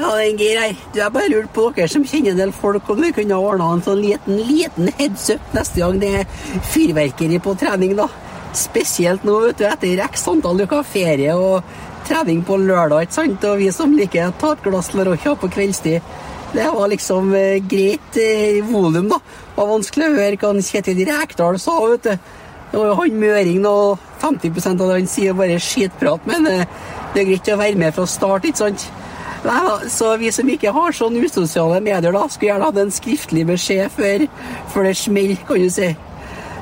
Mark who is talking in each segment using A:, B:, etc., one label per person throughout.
A: Ja, den Geir her. Du, jeg bare lurte på dere som kjenner en del folk, om vi kunne ha ordna en sånn liten, liten heads up neste gang det er fyrverkeri på trening, da. Spesielt nå, vet du, etter x antall uker ferie og trening på lørdag, ikke sant. Og vi som liker å ta et glass Larocca på kveldstid. Det var liksom eh, greit eh, volum, da. Det var vanskelig å høre hva han Kjetil Rekdal sa, vet du. Det var jo han møringen, og 50 av det han sier, bare skitprat. Men eh, det er greit å være med fra start, ikke sant. Nei da, så vi som ikke har sånn usosiale medier, da, skulle gjerne hatt en skriftlig beskjed før, før det smeller, kan du si.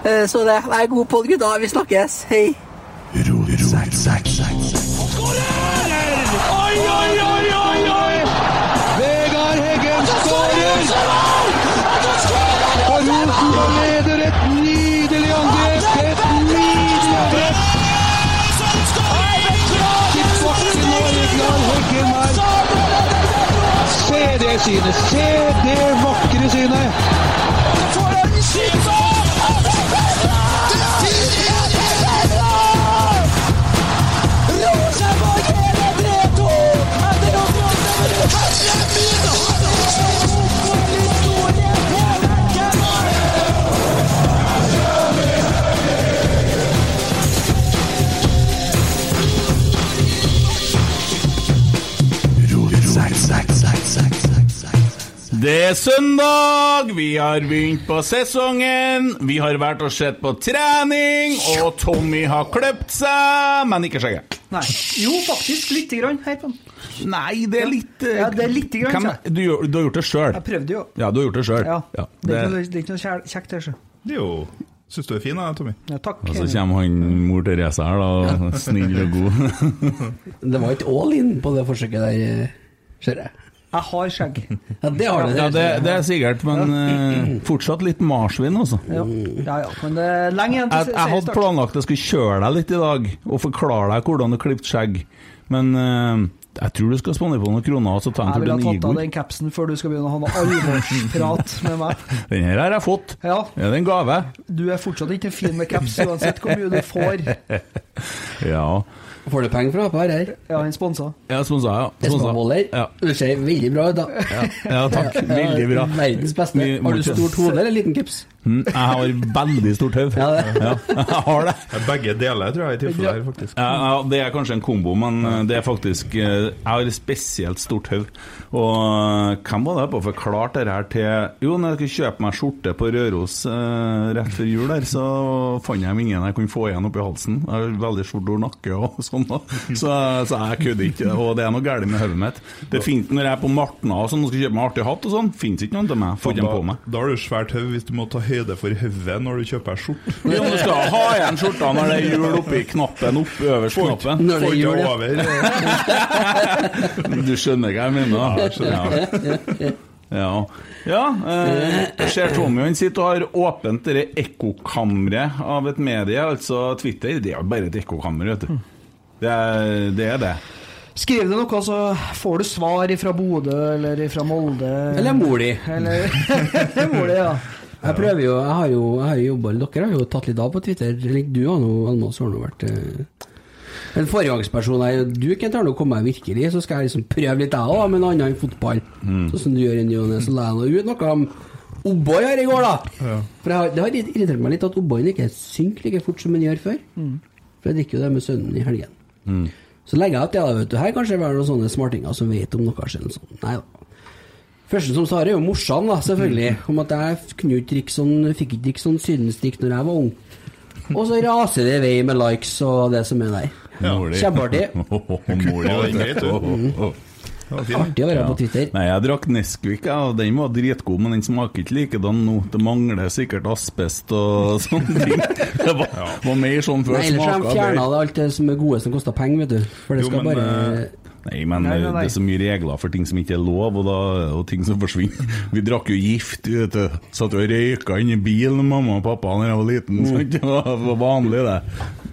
A: Eh, Så det det er god pod, gutta. Vi snakkes. Hei.
B: Oi, oi, oi, oi, oi!
C: Vegard Heggen skårer! For Rosenborg leder et nydelig angrep! Et nydelig angrep! Tilbake nå, Vegard Heggen her. Se det synet! Se det vakre synet!
D: Det er søndag, vi har begynt på sesongen. Vi har vært og sett på trening, og Tommy har kløpt seg, men ikke skjegget.
E: Nei. Jo, faktisk lite grann. Her på den.
D: Nei, det er litt eh,
E: Ja, det er litt grann,
D: hvem-
E: sa
D: du, gjør- du har gjort det sjøl.
E: Jeg prøvde jo.
D: Ja, du har gjort det sjøl.
E: Ja. Det er ikke
D: det,
E: noe, det er ikke noe kjær- kjekt, det. sjø.
F: Det er jo Syns du er fin, da, Tommy?
E: Ja, takk.
D: og så kommer han mor Therese her, da. Snill og god.
A: Det var ikke all in på det forsøket der, ser jeg.
E: Jeg har skjegg.
A: Ja, det har du.
D: Ja, det, det er sikkert, men eh, fortsatt litt marsvin, altså.
E: Ja, ja, ja. men det er lenge igjen
D: Jeg,
E: til
D: jeg hadde
E: seriestart.
D: planlagt at jeg skulle kjøre deg litt i dag og forklare deg hvordan du klippte skjegg, men eh, jeg tror du skal spanne på noen kroner og så ta en
E: Jeg
D: tur
E: ville ha
D: til
E: tatt av
D: Nigor.
E: den capsen før du skal begynne å ha noe alvorsprat med meg.
D: Den her har jeg fått.
E: Ja,
D: Er det en gave?
E: du er fortsatt ikke fin med caps, uansett hvor mye du får.
D: Ja.
A: Får du penger fra Apa her?
E: Ja, han sponsa.
D: Ja, sponsa, ja. Sponsa.
A: Esmaboller.
D: Ja.
A: Du ser veldig bra ut, da.
D: ja, takk. Veldig bra.
A: Verdens beste.
D: Vi må
A: Har du
D: ikke-
A: stort hode eller liten kups?
D: Mm, Jeg har veldig stort hode.
A: Ja, det.
D: Ja, jeg har det.
F: Ja, Begge deler, tror jeg, i tilfellet her, faktisk.
D: Ja, ja, det er kanskje en kombo, men eh, det er faktisk eh, Jeg har et spesielt stort hode. Og eh, hvem var det på forklarte det her til Jo, når jeg skulle kjøpe meg skjorte på Røros eh, rett før jul der, så fant jeg ingen jeg kunne få igjen oppi halsen. Jeg har veldig stor nakke og sånn, da. Så, så jeg kødder ikke. Og det er noe galt med hodet mitt. Det finnes, når jeg er på Martna og sånn og skal kjøpe meg artig hatt og sånn, finnes ikke noen til meg. Får ikke dem på meg.
F: da har du svært hode hvis du må ta høyde for hodet når du kjøper skjorte.
D: Jo, men du skal ha igjen skjorta når det er hjul oppi knappen, opp øverst knappen.
A: Når det
F: Får
A: er jul,
F: ikke
A: ja.
F: over.
D: Du skjønner hva jeg mener? Ja. Ja, ja eh, jeg ser Tommy han sitter og har åpent det ekkokammeret av et medie, altså Twitter. Det er jo bare et ekkokammer, vet du. Det er det. Er det.
E: Skriv det noe, så får du svar fra Bodø eller fra Molde.
A: Eller mor di?
E: Eller Eller mor di, ja.
A: Jeg prøver jo, jeg har jo, jeg har jo jobba Dere har jo tatt litt av på Twitter. Eller Du har nå, Almås, har nå vært eh, en foregangsperson. her. Du Kent, har nå kommet meg virkelig, så skal jeg liksom prøve litt jeg òg, med en annen enn fotball. Sånn som du gjør i ny og ne. Så la jeg nå ut noe om Oboy her i går, da. For jeg har, det har irritert meg litt at Oboyen ikke synker like fort som den gjør før. For jeg drikker jo det med sønnen i helgen. Så legger jeg at ja, vet du, her kanskje det er noen sånne smartinger som vet om noe. kanskje, eller noe sånt. sånn, Nei da. Første som sa det, er jo morsan, da, selvfølgelig.
F: Mm.
A: Om at jeg kunne jo ikke drikke sånn, fikk ikke drikke sånn sydenstrikk når jeg var ung. Og så raser det i vei med likes og det som er der. Kjempeartig.
D: Mor di,
F: Ja, den er
D: vet
F: greit,
D: du.
F: du.
D: Åh, åh, åh.
F: Ja, fin.
A: Artig å være
D: Ja.
A: på Twitter.
D: Nei, jeg drakk Nesquik, ja, og den var dritgod, men den smaker ikke likedan nå. Det mangler sikkert asbest og sånne ting. Det var, var mer sånn før
A: Nei, ellers har de
D: smaket
A: fjerna
D: bedre.
A: alt det som er gode som koster penger, vet du. For det
F: Jo,
A: skal
F: men,
A: bare
F: eh,
D: Nei, men
E: Nei, nei, nei.
D: det er så mye regler for ting som ikke er lov, og, da, og ting som forsvinner. Vi drakk jo gift, vet du. Satt og røyka inni bilen med mamma og pappa da jeg var liten.
A: Mm.
D: sant? Det var det var vanlig, det.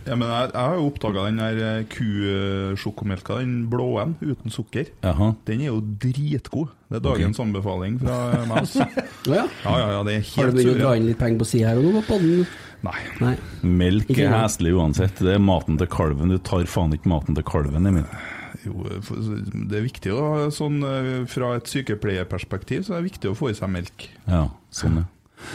F: Ja, men jeg, jeg har jo oppdaga den der eh, kusjokomelka, den blå en uten sukker.
D: Jaha.
F: Den er jo dritgod. Det er dagens anbefaling fra meg. altså.
A: Å ja.
F: Ja, ja, ja, det er
A: Har du
F: helt
A: begynt å dra
F: suverent.
A: inn litt penger på sida her og nå på podden?
F: Nei.
A: Nei.
D: Melk
A: Ikke
D: er
A: sant?
D: heslig uansett. Det er maten til kalven. Du tar faen ikke maten til kalven, Emil.
F: Jo, for- det er viktig å sånn eh, Fra et sykepleierperspektiv så er det viktig å få i seg melk.
D: Ja, sånn, ja.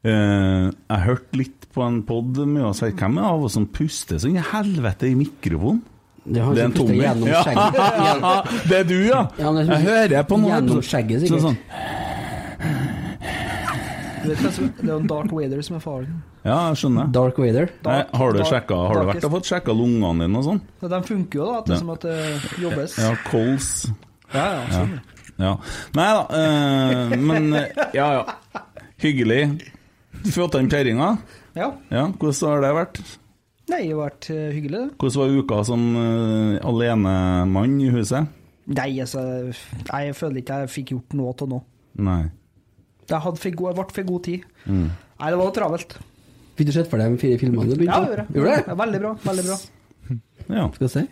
D: Eh, jeg hørte litt på en pod med oss her. Hvem er det av oss som puster sånn i helvete i mikrofonen?
B: Det har
D: Det er en
B: ikke pustet
D: tommel.
B: gjennom
D: Ja.
B: skjegget. Gjennom-
D: Det er du, ja!
B: Ja, men det er
D: jeg
B: sånn-
D: hører på noe.
B: gjennom skjegget, sikkert.
D: Sånn, sånn.
E: Det er kanskje- det er jo en Dark Wader som er faren.
D: Ja, jeg skjønner.
B: Dark Wader.
D: Nei, har du,
E: Dark-
D: sjekka, har du vært og fått sjekka lungene dine og sånn?
E: Så De funker jo, da. At det
D: Ja.
E: er som at det jobbes.
D: Ja, kols.
E: Ja, ja, sånn.
D: Ja. Nei da, eh, men eh, ja ja. Hyggelig. Fått den kjerringa?
E: ja.
D: Ja, hvordan har det vært?
E: Nei, det har vært eh, hyggelig, det.
D: Hvordan var uka som eh, alenemann i huset?
E: Nei, altså, nei, jeg føler ikke jeg fikk gjort noe til nå.
D: Nei.
E: Jeg hadde for god, jeg ble for god tid.
B: Mm.
E: Nei, det var travelt.
B: Fikk du sett for deg de fire filmene du begynte
E: Ja,
B: på?
E: det gjorde jeg.
B: Gjorde du det?
E: Ja, Veldig bra. veldig bra.
D: Ja.
B: Skal vi se.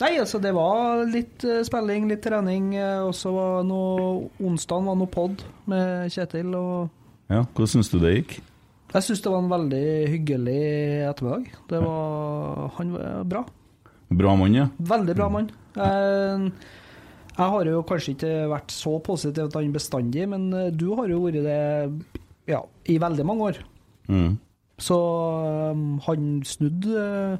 E: Nei, altså, det var litt eh, spilling, litt trening, eh, og så var noe Onsdagen var noe pod med Kjetil, og
D: ja. Hvordan syns du det gikk?
E: jeg syns det var en veldig hyggelig ettermiddag. Det var Han var bra.
D: Bra mann, ja.
E: Veldig bra mann. Jeg, jeg har jo kanskje ikke vært så positiv til han bestandig, men eh, du har jo vært det ja, i veldig mange år.
D: Mm.
E: Så eh, han snudde eh,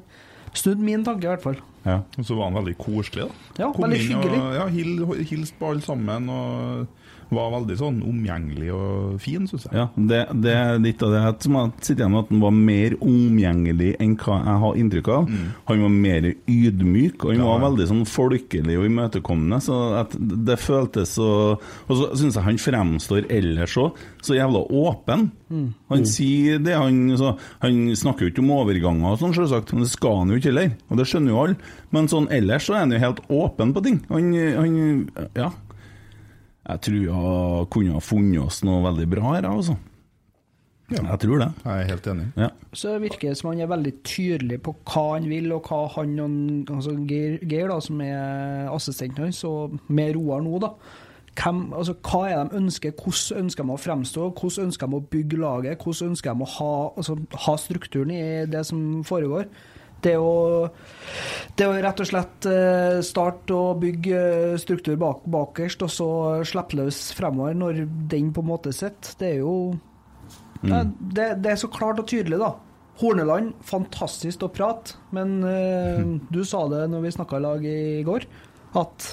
E: snudde min tanke, i hvert fall.
D: ja.
F: Og så var han veldig koselig, da.
E: Ja,
F: Kom
E: veldig
F: inn og-
E: hyggelig.
F: Ja, hil, hilste på alle sammen og var veldig sånn omgjengelig og fin, syns jeg.
D: Ja, det, det er litt av det jeg som jeg sitter igjen med, at han var mer omgjengelig enn hva jeg har inntrykk av. Han var mer ydmyk, og han var veldig sånn folkelig og imøtekommende. Så at det føltes så Og så syns jeg han fremstår ellers òg så jævla åpen. Han sier det, han, så, han snakker jo ikke om overganger og sånn, selvsagt, men det skal han jo ikke heller. Og det skjønner jo alle. Men sånn ellers så er han jo helt åpen på ting. Han, han ja. Jeg tror jeg kunne ha funnet oss noe veldig bra her, altså.
F: Ja.
D: Jeg tror det.
F: Jeg er helt enig.
D: Ja.
E: Så virker det som han er veldig tydelig på hva han vil, og hva han og altså Geir, Geir da, som er assistenten hans, og med Roar nå, da. Hvem, altså, hva er de ønsker? Hvordan ønsker de å fremstå? Hvordan ønsker de å bygge laget? Hvordan ønsker de å ha, altså, ha strukturen i det som foregår? Det å, det å rett og slett eh, starte å bygge eh, struktur bak, bakerst, og så slippe løs fremover når den på en måte sitter, det er jo Nei, det, det er så klart og tydelig, da. Horneland, fantastisk å prate, men eh, du sa det når vi snakka i lag i går, at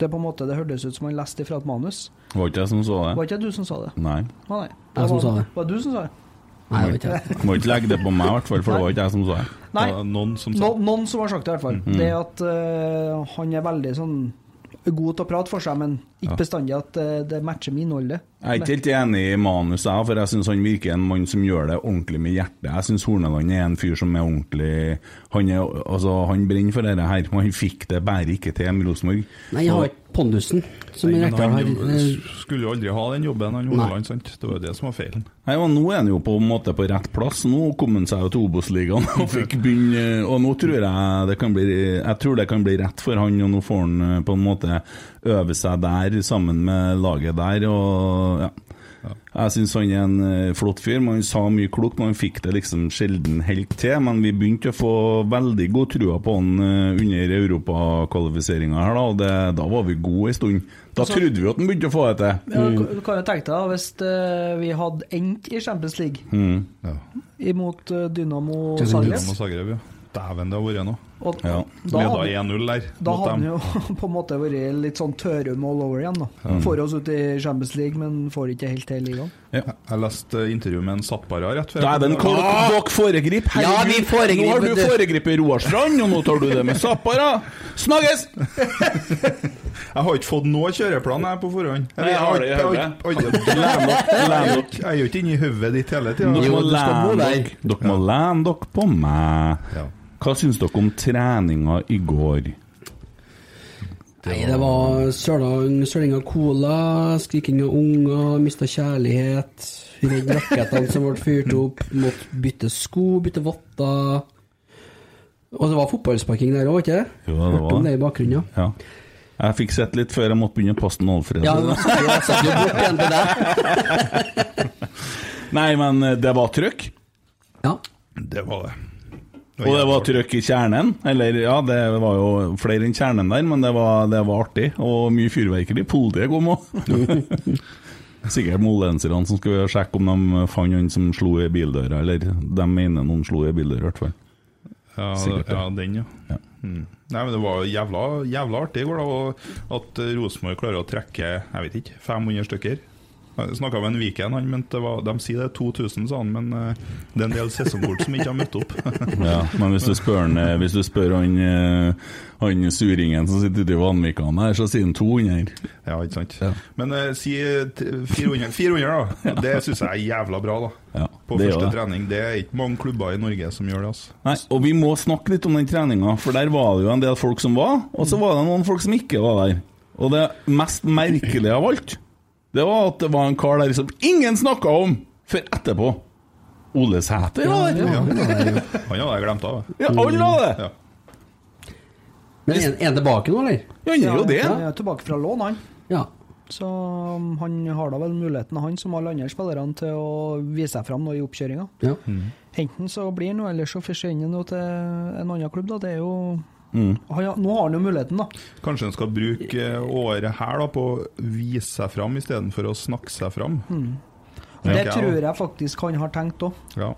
E: det på en måte, det hørtes ut som han leste ifra et manus.
D: Det var ikke jeg som så
E: Det
D: det.
E: var ikke du som sa det?
D: Nei.
E: Å, nei.
B: Jeg som
E: var,
B: sa det.
E: Var det du som sa det?
B: Nei, det var ikke det.
D: Må ikke legge det på meg, i hvert fall, for det var ikke jeg som så det.
E: Nei,
F: Det var Noen
E: no,
F: som sa
E: noen som har sagt det, i hvert fall. Det at eh, han er veldig sånn god til å prate for seg, men ikke bestandig at eh, det matcher med innholdet.
D: Jeg er ikke helt enig i manuset, jeg, for jeg syns han virker en mann som gjør det ordentlig med hjertet. Jeg syns Horneland er en fyr som er ordentlig Han, er, altså, han brenner for dette her, og han fikk det bare ikke til med Rosenborg.
B: Nei, jeg har ikke pondusen, som
F: Nei, men
B: Rekdal
F: han
B: har.
F: jo-
E: eh,
F: skulle jo aldri ha den jobben, han Horneland, sant? Det var jo det som var feilen.
D: Nei, og Nå er han jo på en måte på rett plass. Nå kom han seg jo til Obos-ligaen og fikk begynne Og nå tror jeg det kan bli Jeg tror det kan bli rett for han, og nå får han eh, på en måte øve seg der sammen med laget der. Og ja Jeg syns han er en eh, flott fyr, men han sa mye klokt. Men han fikk det liksom sjelden helt til. Men vi begynte å få veldig god trua på han eh, under europakvalifiseringa her, da, og det, da var vi gode en stund. Da
F: Altså-
D: trodde vi at han begynte å få det til. Mm.
E: Ja, du kan- Du kan jo tenke deg da, hvis eh, vi hadde endt i Champions League
D: Mm.
F: Ja.
E: imot eh, Dynamo
B: Dynamo
E: Zagreb
F: Dinamo Zagreb, ja. Dæven, det har vært noe.
E: Og
D: Ja.
E: da,
F: Leda
E: hadde,
F: 1-0 der.
E: da
F: mot
E: hadde
F: dem.
E: han jo på en måte vært litt sånn tørum all over igjen, da. Får oss ut i Champions League, men får ikke helt til ligaen.
F: Jeg leste intervju med en Zappara rett før.
D: Dæven,
F: jeg kom.
D: hva dere foregriper!
B: Ah! Ja, vi foregriper
D: Nå har du
B: det.
D: foregripet Roar Strand, og nå tar du det med Zappara! Snakkes!
F: Jeg har ikke fått noe kjøreplan jeg på forhånd.
D: Nei, jeg har det i
F: jeg har
D: hodet.
F: ikke- jeg har ikke- jeg har ikke- jeg er jo ikke inni hodet ditt hele tida.
D: Dere må
B: du skal bo
D: lene
B: der.
D: dere Dere må lene dere på meg.
F: Ja.
D: Hva syns dere om treninga i går?
B: Nei, det var søling, søling av cola, skriking av unger, mista kjærlighet, redd rakettene som ble fyrt opp, måtte bytte sko, bytte votter. Og det var fotballsparking der òg, ikke det?
D: Jo, det var
B: Hørte om
D: det.
B: det i bakgrunnen, ja.
D: Ja. Jeg fikk sett litt før jeg måtte begynne å passe den Alfred.
B: Ja, jeg satt jo bort igjen til deg.
D: Nei, men eh, det var trøkk.
B: Ja.
F: Det var det.
D: Og det var trøkk i kjernen. Eller ja, det var jo flere enn kjernen der, men det var, det var artig. Og mye fyrverkeri. Politiet kom òg. Sikkert moldenserne som skulle sjekke om de fant han som slo i bildøra, eller de mener noen slo i bildøra, i hvert fall.
F: Ja,
D: Sikkert,
F: ja, den, ja. Mm. Nei, men Det var jævla, jævla artig i går, da. og At eh, Rosenborg klarer å trekke jeg vet ikke, 500 stykker. Snakka med en Viken, han mente det var, de sier det er 2000, sa han, men eh, det er en del sesongkort som ikke har møtt opp.
D: Ja, men hvis du spør, han, eh, hvis du spør han, eh, han suringen som sitter ute i Vanvikan her, så sier han 200.
F: ja, ikke sant. Men eh, si eh, t- 400, 400 da. Det syns jeg er jævla bra, da.
D: Ja,
F: På
D: det er jo
F: første
D: det.
F: trening. Det er ikke mange klubber i Norge som gjør det, altså.
D: Nei, og vi må snakke litt om den treninga, for der var det jo en del folk som var, og så var det noen folk som ikke var der. Og det mest merkelige av alt, det var at det var en kar der som ingen snakka om før etterpå. Ole Sæter var der!
F: Ja. Han hadde jeg glemt av. jeg.
D: Ja, alle var det!
F: Ja.
B: Men er er han tilbake nå, eller?
D: Han er jo det.
E: Han er tilbake fra lån, han.
B: Ja.
E: Så um, han har da vel muligheten, han som alle andre spillerne, til å vise seg fram nå i oppkjøringa.
B: ja.
D: Mm.
E: Enten så blir han noe, eller så forsvinner han nå til en annen klubb, da. Det er jo
F: Mm.
E: han, har- Nå har han jo muligheten, da.
F: Kanskje en skal bruke eh, året her da på å vise seg fram istedenfor å snakke seg fram.
E: Og Hmm. det
F: Ja.
E: tror jeg faktisk han har tenkt òg.
F: Ja.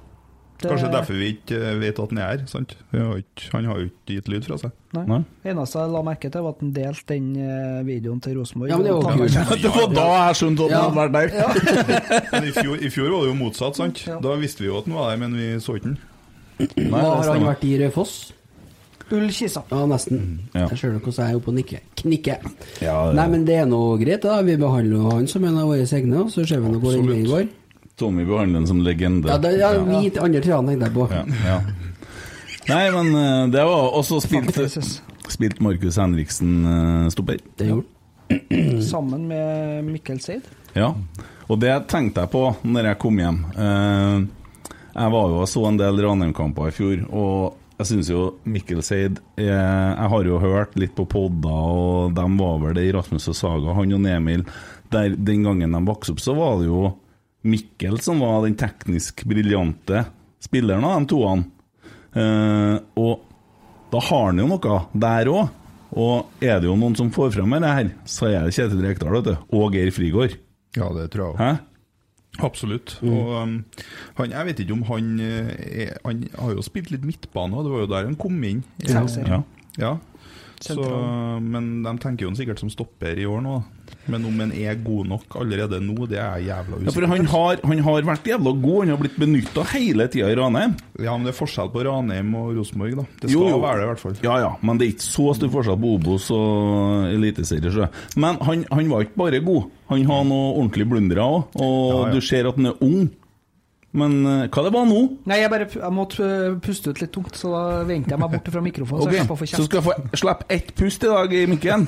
E: Det-
F: Kanskje derfor vi ikke eh, vet at han er her. sant? Vi har ikke, han har jo ikke gitt lyd fra seg.
D: Nei.
E: Det eneste jeg la merke til, var at han delte den eh, videoen til Rosenborg.
B: Ja, men det var
E: Han-
B: kult.
D: Det var da jeg skjønte at han hadde vært der.
F: Men i fjor, i fjor var det jo motsatt. sant?
E: Ja.
F: Da visste vi jo at han var der, men vi så ikke han.
B: Hva har han vært i Raufoss?
E: Ull Kisa.
B: Ja, nesten.
D: Mm. Ja.
B: Jeg ser dere hvordan jeg er oppe og nikker. Knikker.
D: Ja, det-
B: Nei, men det er nå greit, da. Vi behandler jo han som en av våre egne, og så ser vi nå hvor den
F: Absolutt.
B: veien går.
D: Tommy behandler han som legende.
B: Ja, det, ja, vi til andre treene tenkte jeg på.
D: Ja, ja. Nei, men eh, det var Og så spilte
E: Jesus.
D: spilt Markus Henriksen eh, stopper.
B: Det gjorde han. Mm.
E: Sammen med Mikkel Seid.
D: Ja, og det tenkte jeg på når jeg kom hjem. Eh, jeg var jo og så en del Ranheim-kamper i fjor, og jeg syns jo Mikkel Seid eh, Jeg har jo hørt litt på podder, og de var vel det i Rasmus og Saga, han og Emil. Der, den gangen de vokste opp, så var det jo Mikkel som var den teknisk briljante spilleren av de toene. Eh, og da har han jo noe der òg. Og er det jo noen som får fram med det her, så er det Kjetil Rekdal vet du, og Geir Frigård.
F: Ja, det tror jeg
D: Hæ?
F: Absolutt. Og um, han, jeg vet ikke om han eh, er, Han har jo spilt litt midtbane, og det var jo der han kom inn.
E: Ja.
D: Ja.
F: Ja. Så,
E: Sentral.
F: men de tenker jo han sikkert som stopper i år nå. da. Men om han er god nok allerede nå, det er jeg jævla
D: Ja, for
F: usikker
D: han har, han har vært jævla god, han har blitt benytta hele tida i Ranheim.
F: Ja, men det er forskjell på Ranheim og Rosenborg, da. Det skal
D: Jo, jo.
F: være det, i hvert fall.
D: Ja ja, men det er ikke så stor forskjell på Obos og Eliteserie. så. Men han, han var ikke bare god, han har noe ordentlig blundere òg, og
F: Ja, ja.
D: du ser at han er ung. Men eh, hva det var nå?
E: Nei, jeg bare pu- jeg måtte eh, puste ut litt tungt, så da vendte jeg meg bort fra mikrofonen.
D: Ok,
E: Så jeg slapp å få
D: Så
E: kjeft.
D: skal jeg få slippe ett pust i dag i mikken.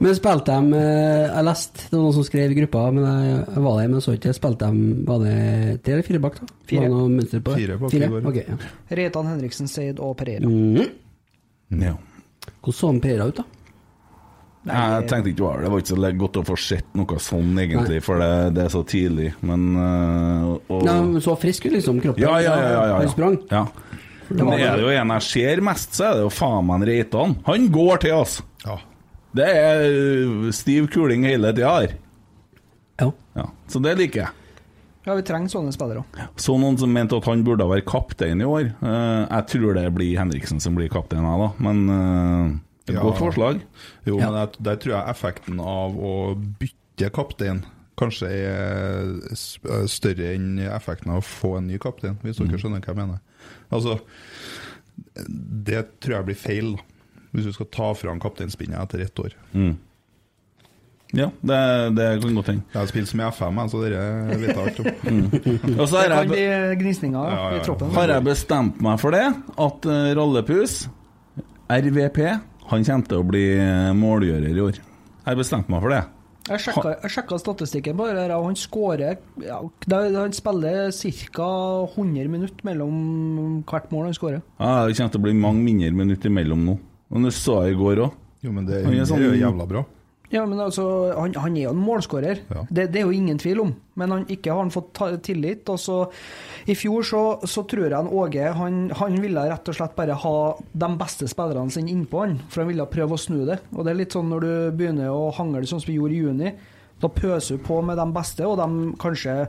B: Men spilte de eh, Jeg leste, det var noen som skrev i gruppa, men jeg, jeg var der, men så ikke. Spilte de Var det tre eller fire bak, da?
E: Fire.
B: Var det noe mønster på det?
F: Fire bak i
B: fire.
F: går.
B: ok, ja.
E: Reitan Henriksen, Seid og Pereira.
B: Mhm.
D: Ja.
B: Hvordan så han Pereira ut, da?
D: Jeg tenkte ikke over det. Det var ikke så godt å få sett noe sånn, egentlig, for det, det er så tidlig. Men eh, og,
B: Nei, han så frisk ut, liksom. Kroppen.
D: Ja, ja, ja. ja, ja, ja.
B: Han sprang.
D: Ja. Men er det jo en jeg ser mest, så er det jo faen meg en Reitan. Han går til, altså!
F: Ja.
D: Det er øh, stiv kuling hele tida her.
B: Ja.
D: Ja, så det liker jeg.
E: Ja, vi trenger sånne spillere òg.
D: Så noen som mente at han burde være kaptein i år. Eh, jeg tror det blir Henriksen som blir kaptein her, da, men eh, et
F: Ja.
D: godt forslag.
F: Jo,
B: Ja.
F: men der, der tror jeg effekten av å bytte kaptein kanskje er s- eh, større enn effekten av å få en ny kaptein, hvis
D: Mm.
F: dere skjønner hva jeg mener. Altså, det tror jeg blir feil, da. Hvis du skal ta fra han kapteinspinnet etter ett år.
D: Mm. Ja, det, det kan godt hende.
F: Jeg har spilt som i FM, jeg, så dere vet alt om.
D: Og
E: Det
D: så har
E: kan
D: jeg,
E: bli gnisninger ja,
F: Ja, ja,
E: i
F: ja.
E: troppen.
D: har jeg bestemt meg for det, at eh, Rallepus, RVP, han kommer til å bli eh, målgjører i år. Jeg har bestemt meg for det.
E: Jeg sjekka, jeg sjekka statistikken på det her, og han skårer ja, da- da Han spiller ca. 100 minutter mellom hvert mål han skårer.
D: Ja, det kommer til å bli mange mindre minutter imellom nå. Og det så jeg i går òg.
F: Jo, men det,
D: Han er
F: det er jo
D: sånn-
F: jævla bra.
E: Ja, men altså, han, han er jo en målskårer,
F: Ja.
E: det, det er jo ingen tvil om. Men han, ikke har han fått ta, tillit. Og så, I fjor så, så tror jeg han Åge han, han ville rett og slett bare ha de beste spillerne sine innpå han, for han ville prøve å snu det. Og det er litt sånn når du begynner å hangle sånn som vi gjorde i juni, da pøser du på med de beste, og de kanskje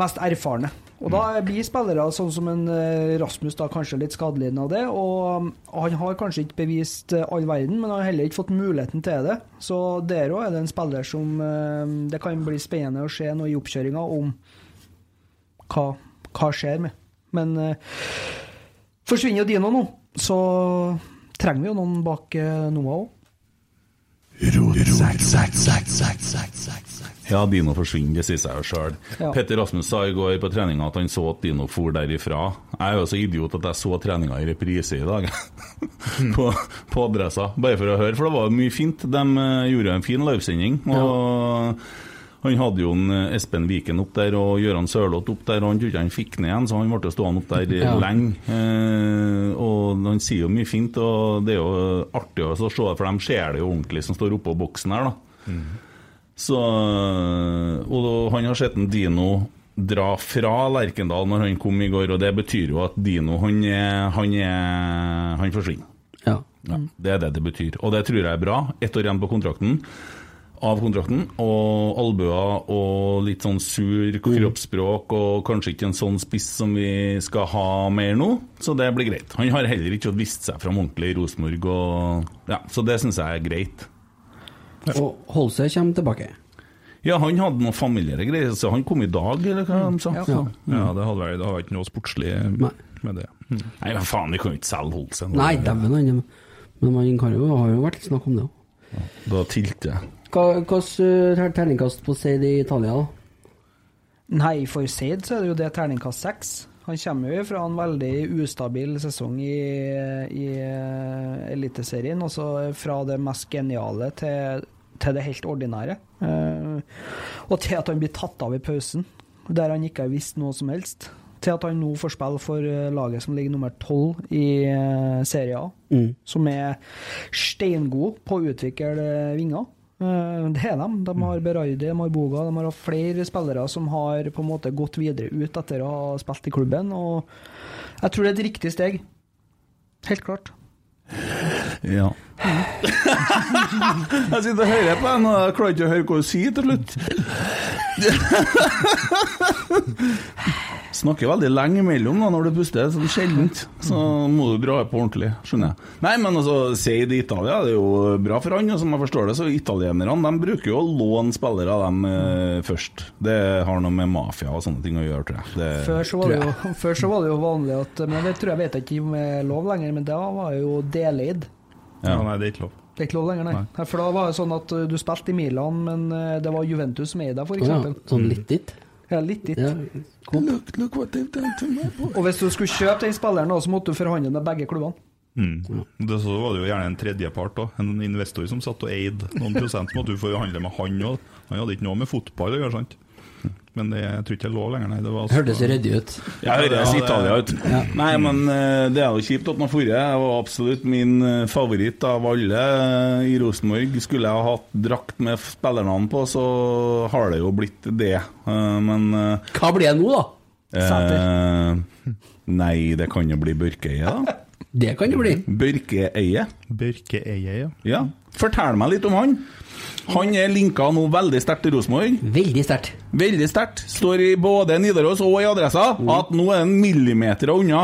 E: mest erfarne. Og da blir spillere sånn som en eh, Rasmus da kanskje litt skadelidende av det. Og um, han har kanskje ikke bevist eh, all verden, men han har heller ikke fått muligheten til det. Så der òg er det en spiller som eh, det kan bli spennende å se noe i oppkjøringa om hva, hva skjer med. Men eh, forsvinner jo Dino nå, så trenger vi jo noen bak eh, Noah òg.
D: Ja, Dino forsvinner, det sier seg jo sjøl.
E: Ja.
D: Petter Rasmus sa i går på treninga at han så at Dino for derifra. Jeg er jo så idiot at jeg så treninga i reprise i dag, på, på adressa. Bare for å høre, for det var mye fint. De eh, gjorde en fin livesending. Og han hadde jo en eh, Espen Viken opp der og Gøran Sørloth opp der, og han tror ikke han fikk ned igjen, så han ble stående opp der eh,
E: Ja.
D: lenge. Eh, og han sier jo mye fint, og det er jo artig å se det, for de ser det jo ordentlig som står oppå boksen her, da. Så, og da, han har sett en Dino dra fra Lerkendal når han kom i går, og det betyr jo at Dino han, er, han, er, han forsvinner.
B: Ja.
D: Ja,
F: Mm.
D: det er det det betyr, og det tror jeg er bra. Ett år igjen på kontrakten, av kontrakten, og albuer og litt sånn sur
F: Mm.
D: kroppsspråk og kanskje ikke en sånn spiss som vi skal ha mer nå, så det blir greit. Han har heller ikke fått vist seg fram ordentlig i Rosenborg, og- ja, så det syns jeg er greit.
B: Og Holse kommer tilbake.
D: Ja, han hadde noen familiære greier, så han kom i dag, eller hva de sa.
E: Ja.
F: Ja, det hadde vært, det hadde ikke noe sportslig
B: Nei.
F: med det.
D: Nei, hva faen, vi kan jo ikke selge Holsen.
B: Nei, dæven, han Men man kan jo, har jo vært litt snakk om det òg.
D: Da tilte jeg.
B: Hvilket eh, terningkast på Seid i Italia, da?
E: Nei, for Seid så er det jo det terningkast seks. Han kommer jo fra en veldig ustabil sesong i, i eh, Eliteserien, og så fra det mest geniale til, til det helt ordinære. Eh, Og til at han blir tatt av i pausen, der han ikke har visst noe som helst. Til at han nå får spille for eh, laget som ligger nummer tolv i eh, Serie A som er steingode på å utvikle vinger. Eh, Det er dem. De har Berardi, de har Boga, de har hatt flere spillere som har på en måte gått videre ut etter å ha spilt i klubben. Og jeg tror det er et riktig steg. Helt klart.
D: Ja. jeg sitter og hører på henne, og jeg klarer ikke å høre hva hun sier til slutt. Snakker veldig lenge imellom da, når du puster, sånn sjeldent. Så må du dra på ordentlig, skjønner jeg. Nei, men altså, Seid i Italia, det er jo bra for han, og som jeg forstår det, så italienerne de bruker jo å låne spillere av dem eh, først. Det har noe med mafia og sånne ting å gjøre, Eh, tror jeg. Det,
E: Før så var det jo, før så var det jo vanlig at Men det tror jeg vet jeg ikke om er lov lenger, men da var jo deleid.
D: Ja.
F: Ja, nei, det er ikke lov.
E: Det er ikke lov lenger, nei. nei. For da var det sånn at uh, du spilte i Milan, men uh, det var Juventus som eide deg,
B: Å, ja.
E: f.eks.
B: Sånn litt dit?
E: Ja, litt dit.
B: Ja.
D: Look, look what they've done to me, boy.
E: Og hvis du skulle kjøpe den spilleren, da, så måtte du forhandle med begge klubbene.
F: Mm. Det så var det jo gjerne en tredjepart, da. en investor som satt og eide noen prosent. Måtte du forhandle med han òg. Han hadde ikke noe med fotball å gjøre, sant. Men det, jeg tror ikke det er lov lenger, nei. Det var altså-
B: Hørtes ryddig ut.
D: Ja, det høres Italia ut. Nei, men eh, det er jo kjipt at man forrige Jeg var absolutt min eh, favoritt av alle eh, i Rosenborg. Skulle jeg ha hatt drakt med spillernavn på, så har det jo blitt det. Eh, Men eh,
B: Hva blir det nå, da?
E: Sæter.
D: eh, Nei, det kan jo bli Børkeøye, da.
B: Det kan det bli.
D: Børkeøye.
F: Børke Eie, ja.
D: Ja. Fortell meg litt om han. Han er linka nå veldig sterkt til Rosenborg.
B: Veldig sterkt.
D: Veldig sterkt. Står i både Nidaros og i Adressa at nå er han millimeter unna.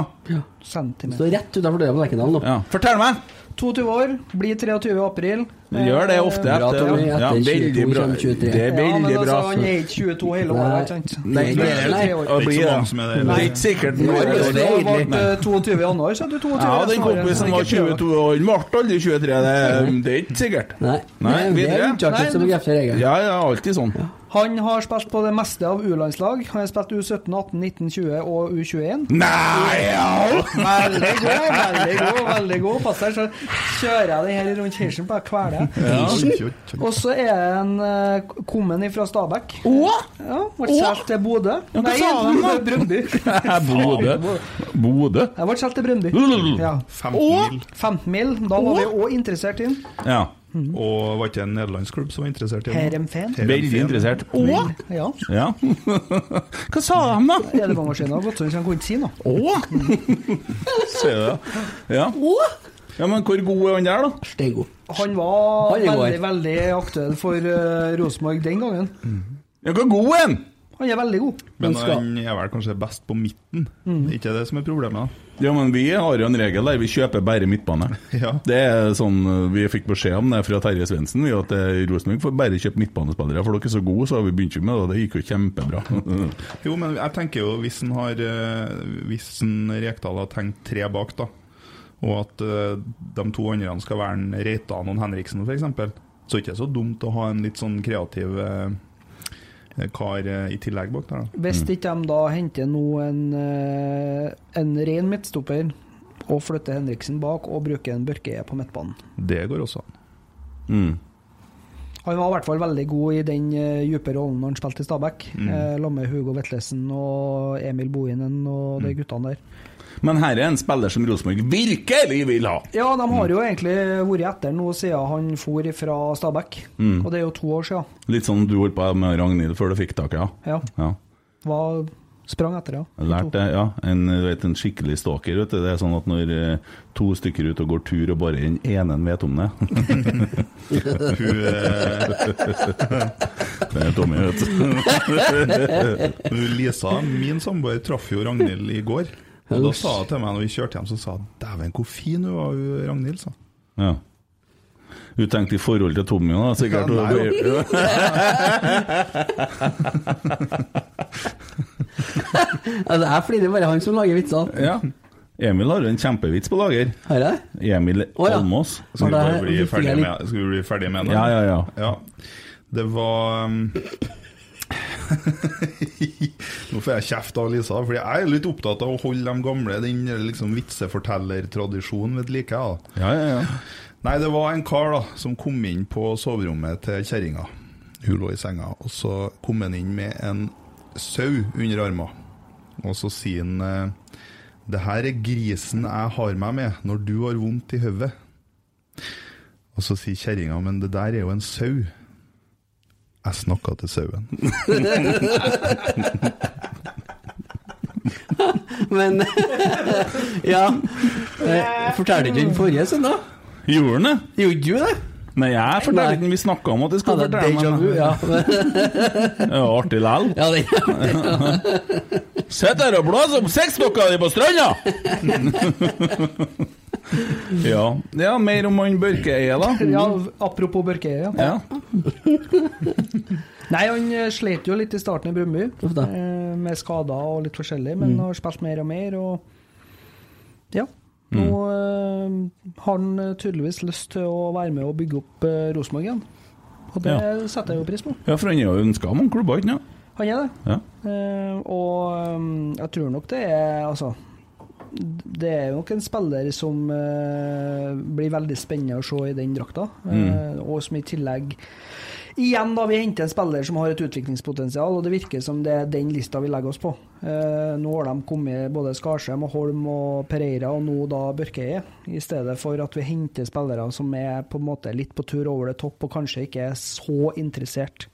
E: Centimeter.
B: Står rett utenfor døra på Lerkendal nå.
D: Ja. Fortell meg!
E: 22 år, blir 23 i april.
D: Gjør det ofte.
B: Bra,
D: etter-
B: Tommy.
D: ja,
B: Etter 22
D: veldig bra.
B: kommer 23.
D: Det er
E: Ja, men
D: veldig
E: altså,
D: bra.
E: Han er ikke 22 hele
B: Nei.
E: året, ikke sant?
B: Nei,
E: Han er
B: nei,
E: 23
B: nei.
E: år.
D: Å bli
F: Det er ikke så
D: det.
F: mange som er det.
D: Det er ikke sikkert
B: Nei, det er
E: Hvis du
B: det.
D: det.
E: hadde
B: egentlig.
E: vært, eh, 22 i januar, så er du 22
D: Ja,
E: resten
D: den
E: av året.
D: kompisen var
E: Ikke prøv.
D: 22 år, han ble aldri 23. Det, er- det er ikke sikkert.
B: Nei.
D: Nei
B: Nei, det er
D: videre.
B: unntaket
D: Nei,
B: som
D: du-
B: bekrefter regelen.
D: Ja, ja, alltid sånn.
E: Han har spilt på det meste av U-landslag. Han har spilt U17, 18, 19, 20 og U21.
D: Nei, ja.
E: Veldig god, veldig god. veldig god Pass deg, så kjører jeg den her rundt kirsen på jeg kveler. deg. Og så er han eh, kommet ifra Stabæk. Ja, ble solgt til Bodø.
D: hva sa han da?
E: Brøndby.
D: Bodø. Bodø?
E: Jeg ble solgt til Brøndby.
D: Lululul.
E: Ja.
F: Femten mil.
E: 15 mil, da var vi òg interessert i den.
D: Ja.
F: Og var ikke en nederlandsk klubb som var interessert i ham?
E: Heerenveen.
D: Veldig interessert. Å!
E: Ja,
D: Ja. Hva sa de, da?
E: det er det mange år siden. Det har gått sånn, så han kunne ikke si noe.
D: Å! Ser du det? Ja. ja, men hvor god er han der, da?
B: Steigo.
E: Han var
B: Han er god.
E: veldig, veldig aktuell for eh, Rosenborg den gangen.
D: Ja, hvor god er han?
E: Han er veldig god.
F: Men
B: Han skal-
F: han er vel kanskje best på midten? Ikke det som er problemet, da?
D: Ja, men vi har jo en regel der vi kjøper bare midtbane.
F: Ja.
D: Det er sånn eh, vi fikk beskjed om det fra Terje Svendsen, vi, at eh, Rosenborg får bare kjøpe midtbanespillere, for dere er så gode, så har vi begynt med det, og det gikk jo kjempebra.
F: Jo, men jeg tenker jo hvis han har eh, Hvis han Rekdal har tenkt tre bak, da, og at eh, de to andre skal være en Reitan og en Henriksen f.eks., så er det ikke så dumt å ha en litt sånn kreativ eh, kar eh, i tillegg bak der, da.
D: Mm.
E: Hvis ikke de da henter nå en, eh, en ren midtstopper og flytter Henriksen bak og bruker en Børke på midtbanen.
F: Det går også an.
D: Mm.
E: Han var i hvert fall veldig god i den eh, dype rollen når han spilte i Stabæk. Mm. Sammen med Hugo Vetlesen og Emil Bohinen og
D: Mm.
E: de guttene der.
D: Men her er en spiller som Rosenborg virkelig vil ha!
E: Ja, de har jo egentlig vært etter nå siden han for fra Stabæk.
D: Mm.
E: Og det er jo to år siden.
D: Litt sånn du holdt på med Ragnhild før du fikk tak i henne.
E: Ja.
D: Ja.
E: Var, sprang etter, ja.
D: Jeg lærte det, ja. En, du vet, en skikkelig stalker, vet du. Det er sånn at når eh, to stykker ut og går tur, og bare den ene vet om det
F: Hun, eh,
D: Det er Tommy, vet du.
F: hun Lisa, min samboer, traff jo Ragnhild i går. Og da sa hun til meg når vi kjørte hjem, så sa hun 'dæven, hvor fin hun var, hun Ragnhild', sa hun.
D: Ja. Du tenkte i forhold til Tommy, da, sikkert?
F: Ja, nei,
B: Ja, det er fordi det er bare han som lager vitser.
D: Ja. Emil har jo en kjempevits på lager.
B: Har jeg?
D: Emil
B: Å, ja.
D: Almås.
B: Ja,
F: Skal vi
B: det
F: bare
B: er
F: bli
B: viktig,
F: ferdig
B: jeg
F: med, skal vi bli ferdig med den?
D: Ja, ja, ja.
F: Ja, det var um, Nå får jeg kjeft av Lisa, Fordi jeg er litt opptatt av å holde de gamle, den liksom vitsefortellertradisjonen ved like. Da.
D: Ja, ja, ja.
F: Nei, det var en kar da, som kom inn på soverommet til kjerringa. Hun lå i senga, og så kom han inn med en sau under armen. Og så sier han eh, Det her er grisen jeg har meg med når du har vondt i hodet. Og så sier kjerringa, men det der er jo en sau. Jeg snakka til sauen.
B: Men Ja. Eh, Fortalte ikke den forrige søndag?
D: Gjorde han det?
B: Gjorde du det?
D: Nei, jeg
B: Nei.
D: fortalte ikke, vi snakka om at
B: Ja,
D: jeg skulle
B: det er
D: fortelle,
B: déjà vu,
D: men
B: ja.
D: det var artig likevel.
B: ja det,
D: Sitt her og blås opp sexdokka di på stranda! ja. ja, mer om han Børke er, da.
E: ja apropos Børke, ja.
D: Ja.
E: Nei, han eh, slet jo litt i starten i Brumby,
B: Uff da. Mm.
E: eh, med skader og litt forskjellig, men har spilt mer og mer, og ja. Nå
B: Mm.
E: eh, har han eh, tydeligvis lyst til å være med og bygge opp eh, Rosenborg igjen, og det setter jeg jo pris på.
D: ja, for han er jo ønska av mange klubber, ikke sant?
E: Han er det.
D: Ja.
E: Eh, og ehm, jeg tror nok det er Altså. Det er nok en spiller som eh, blir veldig spennende å se i den drakta. eh, og som i tillegg Igjen, da, vi henter en spiller som har et utviklingspotensial, og det virker som det er den lista vi legger oss på. Eh, nå har de kommet både Skarsheim og Holm og Pereira, og nå da Børkeie. I stedet for at vi henter spillere som er på en måte litt på tur over det topp, og kanskje ikke er så interessert.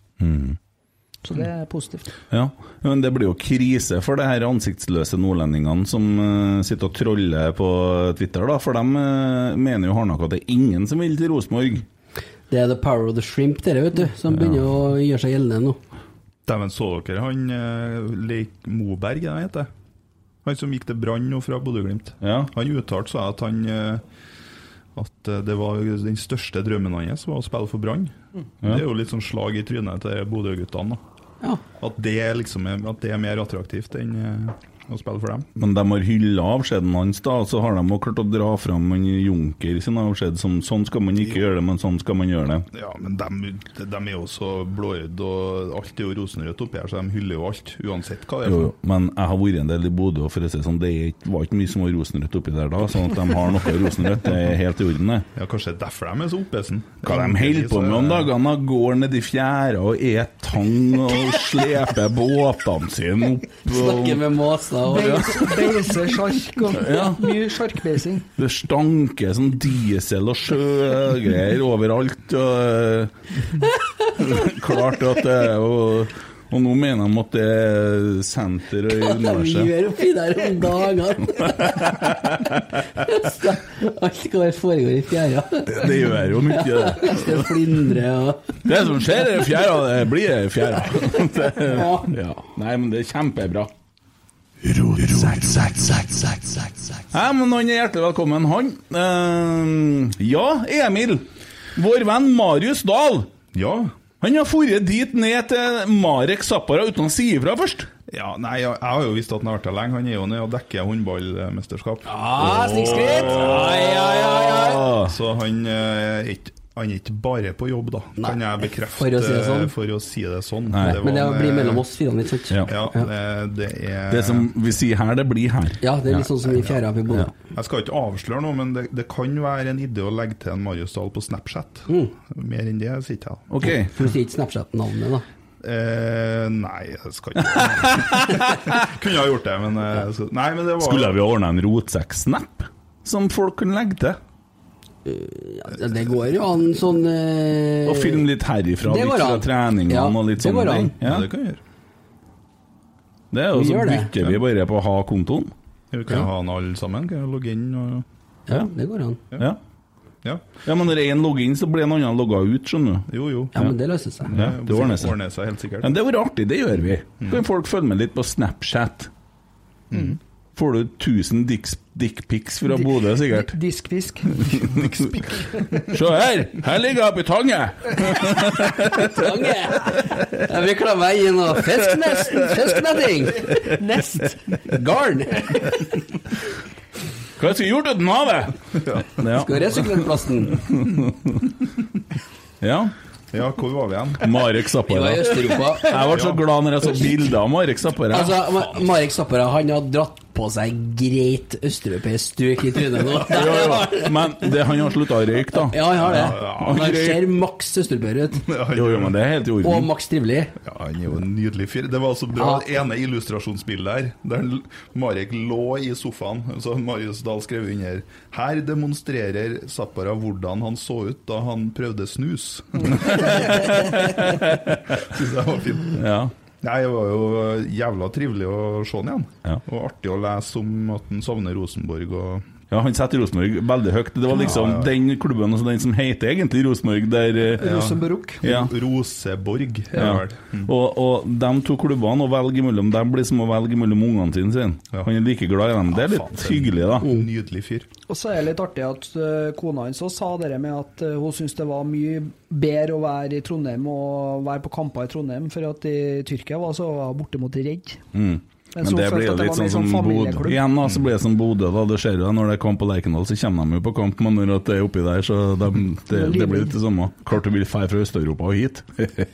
E: Så det er positivt.
D: Ja, men det blir jo krise for det her ansiktsløse nordlendingene som eh, sitter og troller på Twitter, da. For de eh, mener jo hardnakka at det er ingen som vil til Rosenborg.
B: det er the power of the shrimp, dere, vet du, som begynner å gjøre seg gjeldende nå.
F: Dæven, så dere han eh, Leik Moberg, er det han heter? Han som gikk til Brann nå fra Bodø-Glimt.
D: Ja.
F: Han uttalte seg at han eh, At eh, det var den største drømmen hans var å spille for Brann. Det er jo litt sånn slag i trynet til Bodø-guttene. da.
B: Ja.
F: At, det liksom er- at det er mer attraktivt enn eh, å spille for dem.
D: Men de har hylla avskjeden hans, da, og så har de jo klart å dra fram en Junker sin avskjed som sånn skal man ikke gjøre det, men sånn skal man gjøre det.
F: Ja, men de, er jo så blåøyde, og alt er jo rosenrødt oppi her, så de hyller jo alt. Uansett hva det er.
D: Jo, jo, men jeg har vært en del i Bodø, og for å si det sånn, det er ikke- var ikke mye som var rosenrødt oppi der da, sånn at de har noe rosenrødt, det er helt i orden, det.
F: Ja, Kanskje derfor de er så oppesen.
D: Hva de holder på med om dagene? da? Går ned i fjæra og et tang og sleper båtene sine opp og
B: Snakker med måsa og
E: Beise sjark og
D: Ja.
E: mye sjarkbeising.
D: Det stanker sånn diesel og sjøgreier overalt. Og, klart at det er jo Og nå mener de at det er senter i
B: Hva vi
D: universet.
B: gjør oppi der om dagene? Så Alt hva det foregår i fjæra.
D: Det gjør jo mye, det.
B: Det flindrer og
D: Det som skjer i fjæra, det blir i fjæra. Det,
B: Ja.
D: ja. Nei, men det er kjempebra.
G: Hei,
D: Hei, men han er hjertelig velkommen, han. Eh, ja, Emil. Vår venn Marius Dahl.
F: Ja.
D: Han har dratt dit ned til Marek Zappara uten å si ifra først.
F: ja nei, jeg, jeg har jo visst at han har vært der lenge. Han er jo nede og dekker håndballmesterskap.
D: Ah, snikskritt!
F: Så han eh, er ikke han er ikke bare på jobb, da, kan jeg bekrefte.
B: for å si det sånn.
F: for å si det sånn.
D: Nei.
F: var
B: Men det
F: en,
B: blir
F: eh,
B: mellom oss fire, ikke sant?
D: Ja.
F: Ja, eh, det er
D: Det som vi sier her, det blir her.
B: Ja, det er litt sånn som i fjæra oppe i Bodø.
F: Jeg skal ikke avsløre noe, men det, det kan være en idé å legge til en Marius Dahl på Snapchat.
B: Mm.
F: Mer enn det sier ikke jeg.
D: Ok.
B: For du sier ikke Snapchat-navnet, da?
F: Eh, nei, jeg skal ikke Kunne ha gjort det, men eh, så, Nei, men det var
D: Skulle vi ordna en rotsekk-snap som folk kunne legge til?
B: Ja, det går jo an sånn eh,
D: Og filme litt herifra,
B: Det
D: litt
B: går
D: fra
B: an.
D: treningene
B: Ja,
D: og litt
B: det går
D: sånne ting.
B: an.
F: Ja,
D: Ja.
F: det kan vi gjøre.
D: Det er jo
B: Vi
D: så
B: gjør det.
D: bytter vi bare på å ha kontoen.
F: Vi kan ha den alle sammen. Kan jeg logge inn og
B: Ja, det går an.
D: Ja.
F: Ja.
D: ja, men når én logger inn, så blir en annen logga ut, skjønner du.
F: Jo, jo.
B: Ja, men det løser seg.
D: Ja, det ordner seg. Mm.
F: Ordner seg helt sikkert.
D: Men det var artig, det gjør vi. Kan folk følge med litt på Snapchat? Mm. Får du 1000 dicks- dickpics fra Bodø, sikkert.
E: Diskfisk.
D: Se her! Her ligger jeg oppi tanget!
B: Tange! Jeg vil klemme meg inn og fisk nesten! Fisknetting! Nest! Garn!
D: Hva skulle jeg gjort uten havet? Ja.
B: Skal resirkuleringsplasten.
D: ja.
F: Ja, hvor var vi igjen?
D: Marek
B: Vi var
D: Zappara.
B: i Øst-Europa.
D: Jeg ble så glad når jeg så bilder av Marek Zappara.
B: Altså, Ma- Marek Zappara han har dratt på seg greit østeuropeisk strøk i trynet nå.
D: Jo, jo. Men det, han har slutta å røyke, da.
B: Ja, han har det.
D: ja.
B: Han ser maks østeuropeer ut.
D: Jo, jo, men det er helt i
B: Og
D: orden.
B: maks trivelig.
F: Ja, han er jo en nydelig fyr. Det var så bra, det ene illustrasjonsbildet her, der l- Marek lå i sofaen, så Marius Dahl skrev under. Her demonstrerer Zappara hvordan han så ut da han prøvde snus. Syns jeg var fint.
D: Ja.
F: Nei, det var jo jævla trivelig å se han igjen.
D: Ja.
F: Og artig å lese om at han savner Rosenborg og
D: Ja, Han setter Rosenborg veldig høyt. Det var liksom den klubben altså den som heter egentlig Rosenborg, der eh,
E: Rosenborg.
D: Ja. Mm.
F: Roseborg. er det
D: Ja.
F: vel.
D: Og, og de to klubbene å velge imellom, de blir som å velge mellom ungene sine. sin.
F: Ja.
D: Han er like glad i dem. Ah, Det er litt
F: faen.
D: hyggelig,
F: Mm.
D: da.
F: Nydelig fyr.
E: Og så er det litt artig at eh, kona hans også sa det med at eh, hun syntes det var mye bedre å være i Trondheim og være på kamper i Trondheim, for at i Tyrkia var så bortimot redd. Men
D: Mm. Men
E: så
D: det
E: følte
D: blir jo
E: jeg det
D: litt
E: var
D: sånn
E: mer
D: som
E: sånn
D: Bodø.
E: familieklubb.
D: Igjen da, så blir det som Bodø, da. Det skjer jo det når det er kamp på Lerkendal, så kommer de jo på kamp, men når at det er oppi der, så de, det, det blir litt det samme. Klart du vil dra fra Øst-Europa og hit.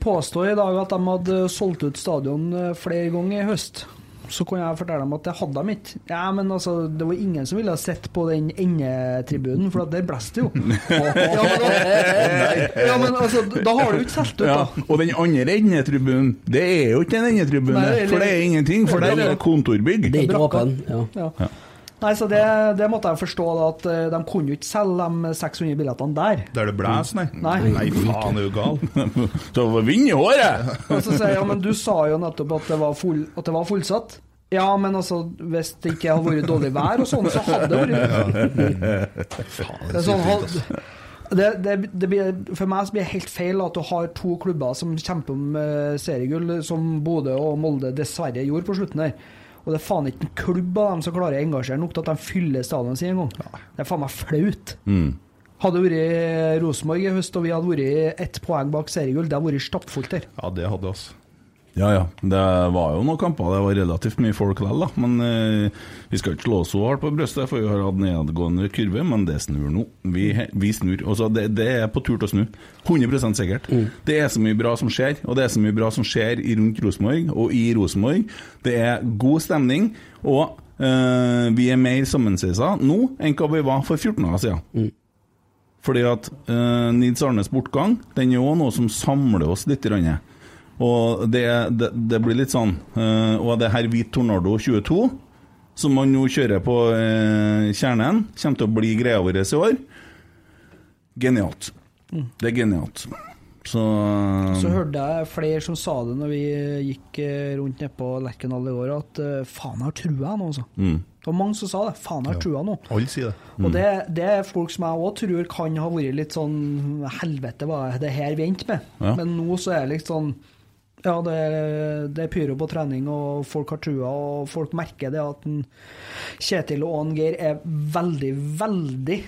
E: påstår i dag at de hadde solgt ut stadion eh, flere ganger i høst. Så kunne jeg fortelle dem at det hadde de ikke. Ja, men altså, det var ingen som ville ha sett på den endetribunen, for at der blåste det jo. Ja, men, da, ja, men altså, da har du jo ikke solgt ut,
D: Ja,
E: da.
D: og den andre endetribunen, det er jo ikke en endetribune,
E: Nei, eller-
D: for det er ingenting, for der er det kontorbygg.
B: Det er ikke
E: Brakka.
B: åpen. Ja.
E: Ja. Nei, så det, det måtte jeg forstå, da, at eh, de kunne jo ikke selge de 600 billettene der.
F: Der det blæs, nei?
E: Nei.
F: Nei, faen, er du gal?
D: Så det var vind i håret!
E: Og så sier jeg, ja, men du sa jo nettopp at det var, full, at det var fullsatt. Ja, men altså, hvis det ikke hadde vært dårlig vær og sånn, så hadde det vært det, er sånn, had- det, det, det blir, For meg så blir det helt feil at du har to klubber som kjemper om eh, seriegull, som Bodø og Molde dessverre gjorde på slutten her. Og det er faen ikke en klubb av dem som klarer å engasjere nok til at de fyller stadionet sitt engang. Det er faen meg flaut. Hadde det vært Rosenborg i høst, og vi hadde vært ett poeng bak seriegull, det hadde vært stappfullt her.
F: Ja, det hadde oss.
D: Ja, ja. Det var jo noen kamper. Det var relativt mye folk likevel, da. Men eh, vi skal ikke slå oss så hardt på brystet, for vi har hatt nedadgående kurve. Men det snur nå. Vi, vi snur. Altså, det, det er på tur til å snu. 100 sikkert. Det er så mye bra som skjer, og det er så mye bra som skjer i rundt Rosenborg og i Rosenborg. Det er god stemning, og eh, vi er mer sammensveisa nå enn hva vi var for 14 dager siden. Fordi at eh, Nils Arnes bortgang Den er jo noe som samler oss litt. grann. Og det, det, det blir litt sånn. eh, og det her hvit Tornado 22, som man nå kjører på eh, kjernen, kommer til å bli greia vår i år. Genialt. Det er genialt. Så, Mm.
E: Så hørte jeg flere som sa det når vi gikk eh, rundt nede på Lerkendal i går, at eh, faen, jeg har trua nå, altså. Det var mange som sa det. Faen, jeg har trua nå.
F: Alle sier det.
E: Og det, det er folk som jeg òg tror kan ha vært litt sånn Helvete, hva er det her vi endte med?
D: Ja.
E: Men nå så er det litt sånn Ja, det, er- det er pyro på trening, og folk har trua, og folk merker det at en Kjetil og han Geir er veldig, veldig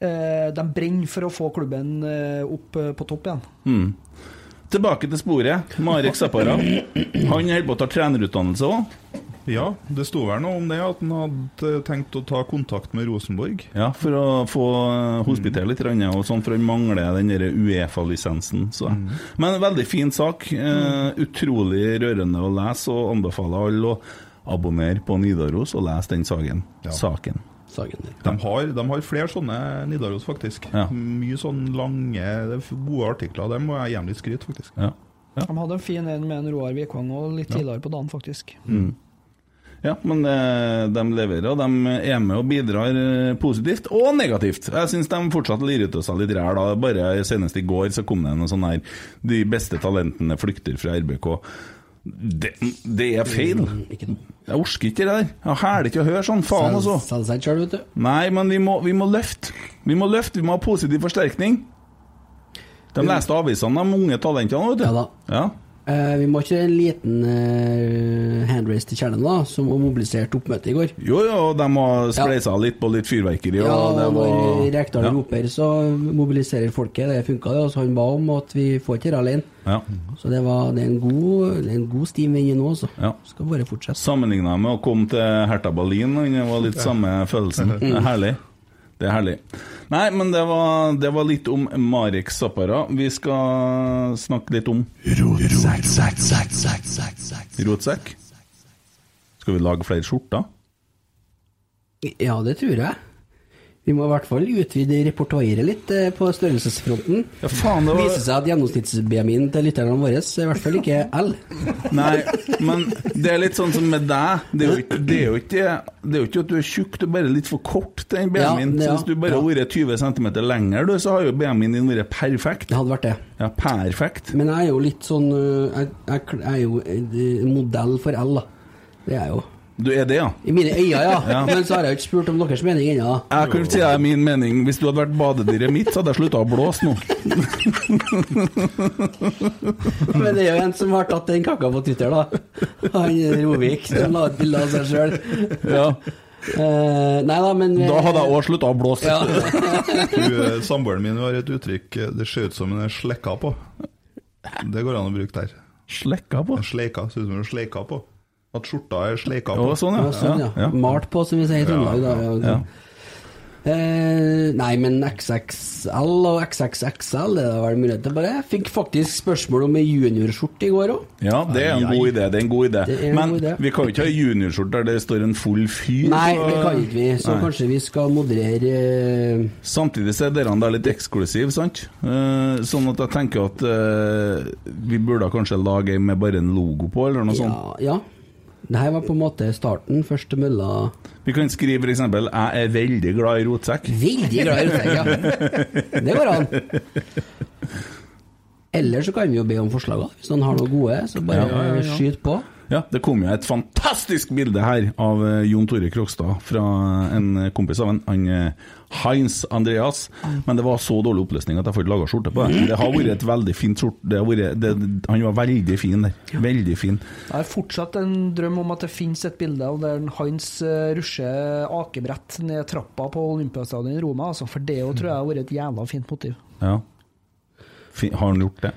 E: eh, De brenner for å få klubben eh, opp eh, på topp igjen.
D: mm. Tilbake til sporet. Marek Zappara. Han holder på å ta trenerutdannelse òg.
F: Ja, det sto vel noe om det, at han hadde tenkt å ta kontakt med Rosenborg.
D: Ja, for å få eh, hospitere litt, grann, og sånn, for han mangler den der Uefa-lisensen. så. Men en veldig fin sak. Eh, utrolig rørende å lese, og anbefaler alle å abonnere på Nidaros og lese den saken.
F: Ja.
D: saken.
B: Sagen der.
F: De har, de har flere sånne Nidaros, faktisk.
D: Ja.
F: Mye sånn lange, det er f- gode artikler. Det må jeg jevnlig skryte, faktisk.
D: Ja. Ja.
E: De hadde en fin en med en Roar Vikvang og litt tidligere på dagen, faktisk.
D: ja, men eh, de leverer, og de er med og bidrar eh, positivt og negativt. Jeg syns de fortsatt lirer ut av seg litt ræl. da. Bare senest i går så kom det en sånn her De beste talentene flykter fra RBK. Det, det er feil.
B: Mm, Ikke noe.
D: Jeg orker ikke det der. Jeg hæler ikke å høre sånn. Faen, altså.
B: Selge seg sjøl, vet du.
D: Nei, men vi må, vi må løfte. Vi må løfte, vi må ha positiv forsterkning. De leste avisene, de unge talentene, vet du.
B: Ja da.
D: Ja.
B: Eh, vi må ikke en liten eh, handrace til kjernen, da, som mobiliserte oppmøtet i går.
D: Jo, jo, de har spleisa litt på litt fyrverkeri,
B: Ja,
D: og det var
B: når Rekdal roper, så mobiliserer folket. Det funka, det. Altså, han ba om at vi får ikke det alene.
D: ja.
B: Så det, var, det, er en god, det er en god stim inne nå, altså.
D: Ja.
B: Skal bare fortsette.
D: Sammenligna med å komme til Hertha Berlin, og det var litt samme følelsen.
B: Mm.
D: Det er herlig. Det er herlig. Nei, men det var, det var litt om Marek Zappara. Vi skal snakke litt om
G: Rotsekk, sekk, sekk, sekk, sekk, sekk.
D: rotsekk. Skal vi lage flere skjorter?
B: Ja, det tror jeg. Vi må i hvert fall utvide repertoaret litt eh, på størrelsesfronten.
D: Ja, faen,
B: Det
D: det var
B: viser seg at gjennomsnitts-BMI-en til lytterne våre er i hvert fall ikke L.
D: Nei, men det er litt sånn som med deg. Det er jo ikke, det er jo ikke, det er jo ikke at du er tjukk, du er bare litt for kort til den
B: Ja,
D: BMI-en. Så
B: ja,
D: hvis du bare hadde vært 20 cm lenger, du, så har jo BMI-en din vært perfekt.
B: Det hadde vært det.
D: Ja, perfekt.
B: Men jeg er jo litt sånn øh, Jeg, jeg, kl- jeg er jo en en modell for L, da. Det er jeg jo.
D: Du er det, ja.
B: I mine øyne, ja. Men så har jeg jo ikke spurt om deres mening ennå. da.
D: Jeg kan si deg min mening. Hvis du hadde vært badedyret mitt, så hadde jeg slutta å blåse nå.
B: Men det er jo en som har tatt den kaka på Twitter, da. Han Rovik, som la ut bilde av seg sjøl.
D: Ja.
B: nei da, men
D: Da hadde jeg òg slutta å blåse.
B: ja.
F: Hun, eh, Samboeren min har et uttrykk eh, 'det ser ut som hun er slekka på'. Det går an å bruke der.
D: Slekka på.
F: Sleika, ser ut som hun er sleika på. At skjorta er sleika
D: Å,
F: på.
D: sånn,
B: Ja,
D: ja.
B: sånn,
D: ja.
B: ja.
D: ja.
B: Malt på, som vi sier i Trøndelag. da, ja. sånn.
D: Ja.
B: Eh, nei, men XXL og XXXL det er vel mulighet til bare. Jeg fikk faktisk spørsmål om ei juniorskjorte i går òg.
D: ja, det er en god idé. Det er en god idé.
B: Det er en
D: Men
B: god idé.
D: vi kan jo ikke ha juniorskjorte der det står en full fyr.
B: Nei,
D: så-
B: det kan ikke vi, så
D: Nei.
B: kanskje vi skal moderere eh,
D: Samtidig så er dere der litt eksklusiv, sant? Eh, sånn at jeg tenker at eh, vi burde kanskje lage en med bare en logo på, eller noe
B: ja,
D: sånt.
B: ja. Det her var på en måte starten. Første mølla
D: Vi kan skrive for eksempel 'Jeg er veldig glad i rotsekk'.
B: Veldig glad i rotsekk, ja. Det går an. Eller så kan vi jo be om forslag, da. Hvis noen har noe gode, så bare skyt på.
D: Ja, det kom jo et fantastisk bilde her av eh, Jon Tore Krokstad fra en eh, kompis av en, han eh, Heinz Andreas. Men det var så dårlig oppløsning at jeg får ikke laga skjorte på det. Det har vært et veldig fint skjorte. Det har vært, det, han var veldig fin der. Veldig fin.
E: Jeg har fortsatt en drøm om at det finnes et bilde av der Hans eh, rusher akebrett ned trappa på Olympiastadion i Roma, altså, for det jo tror jeg har vært et jævla fint motiv.
D: Ja. Fin, har han gjort det?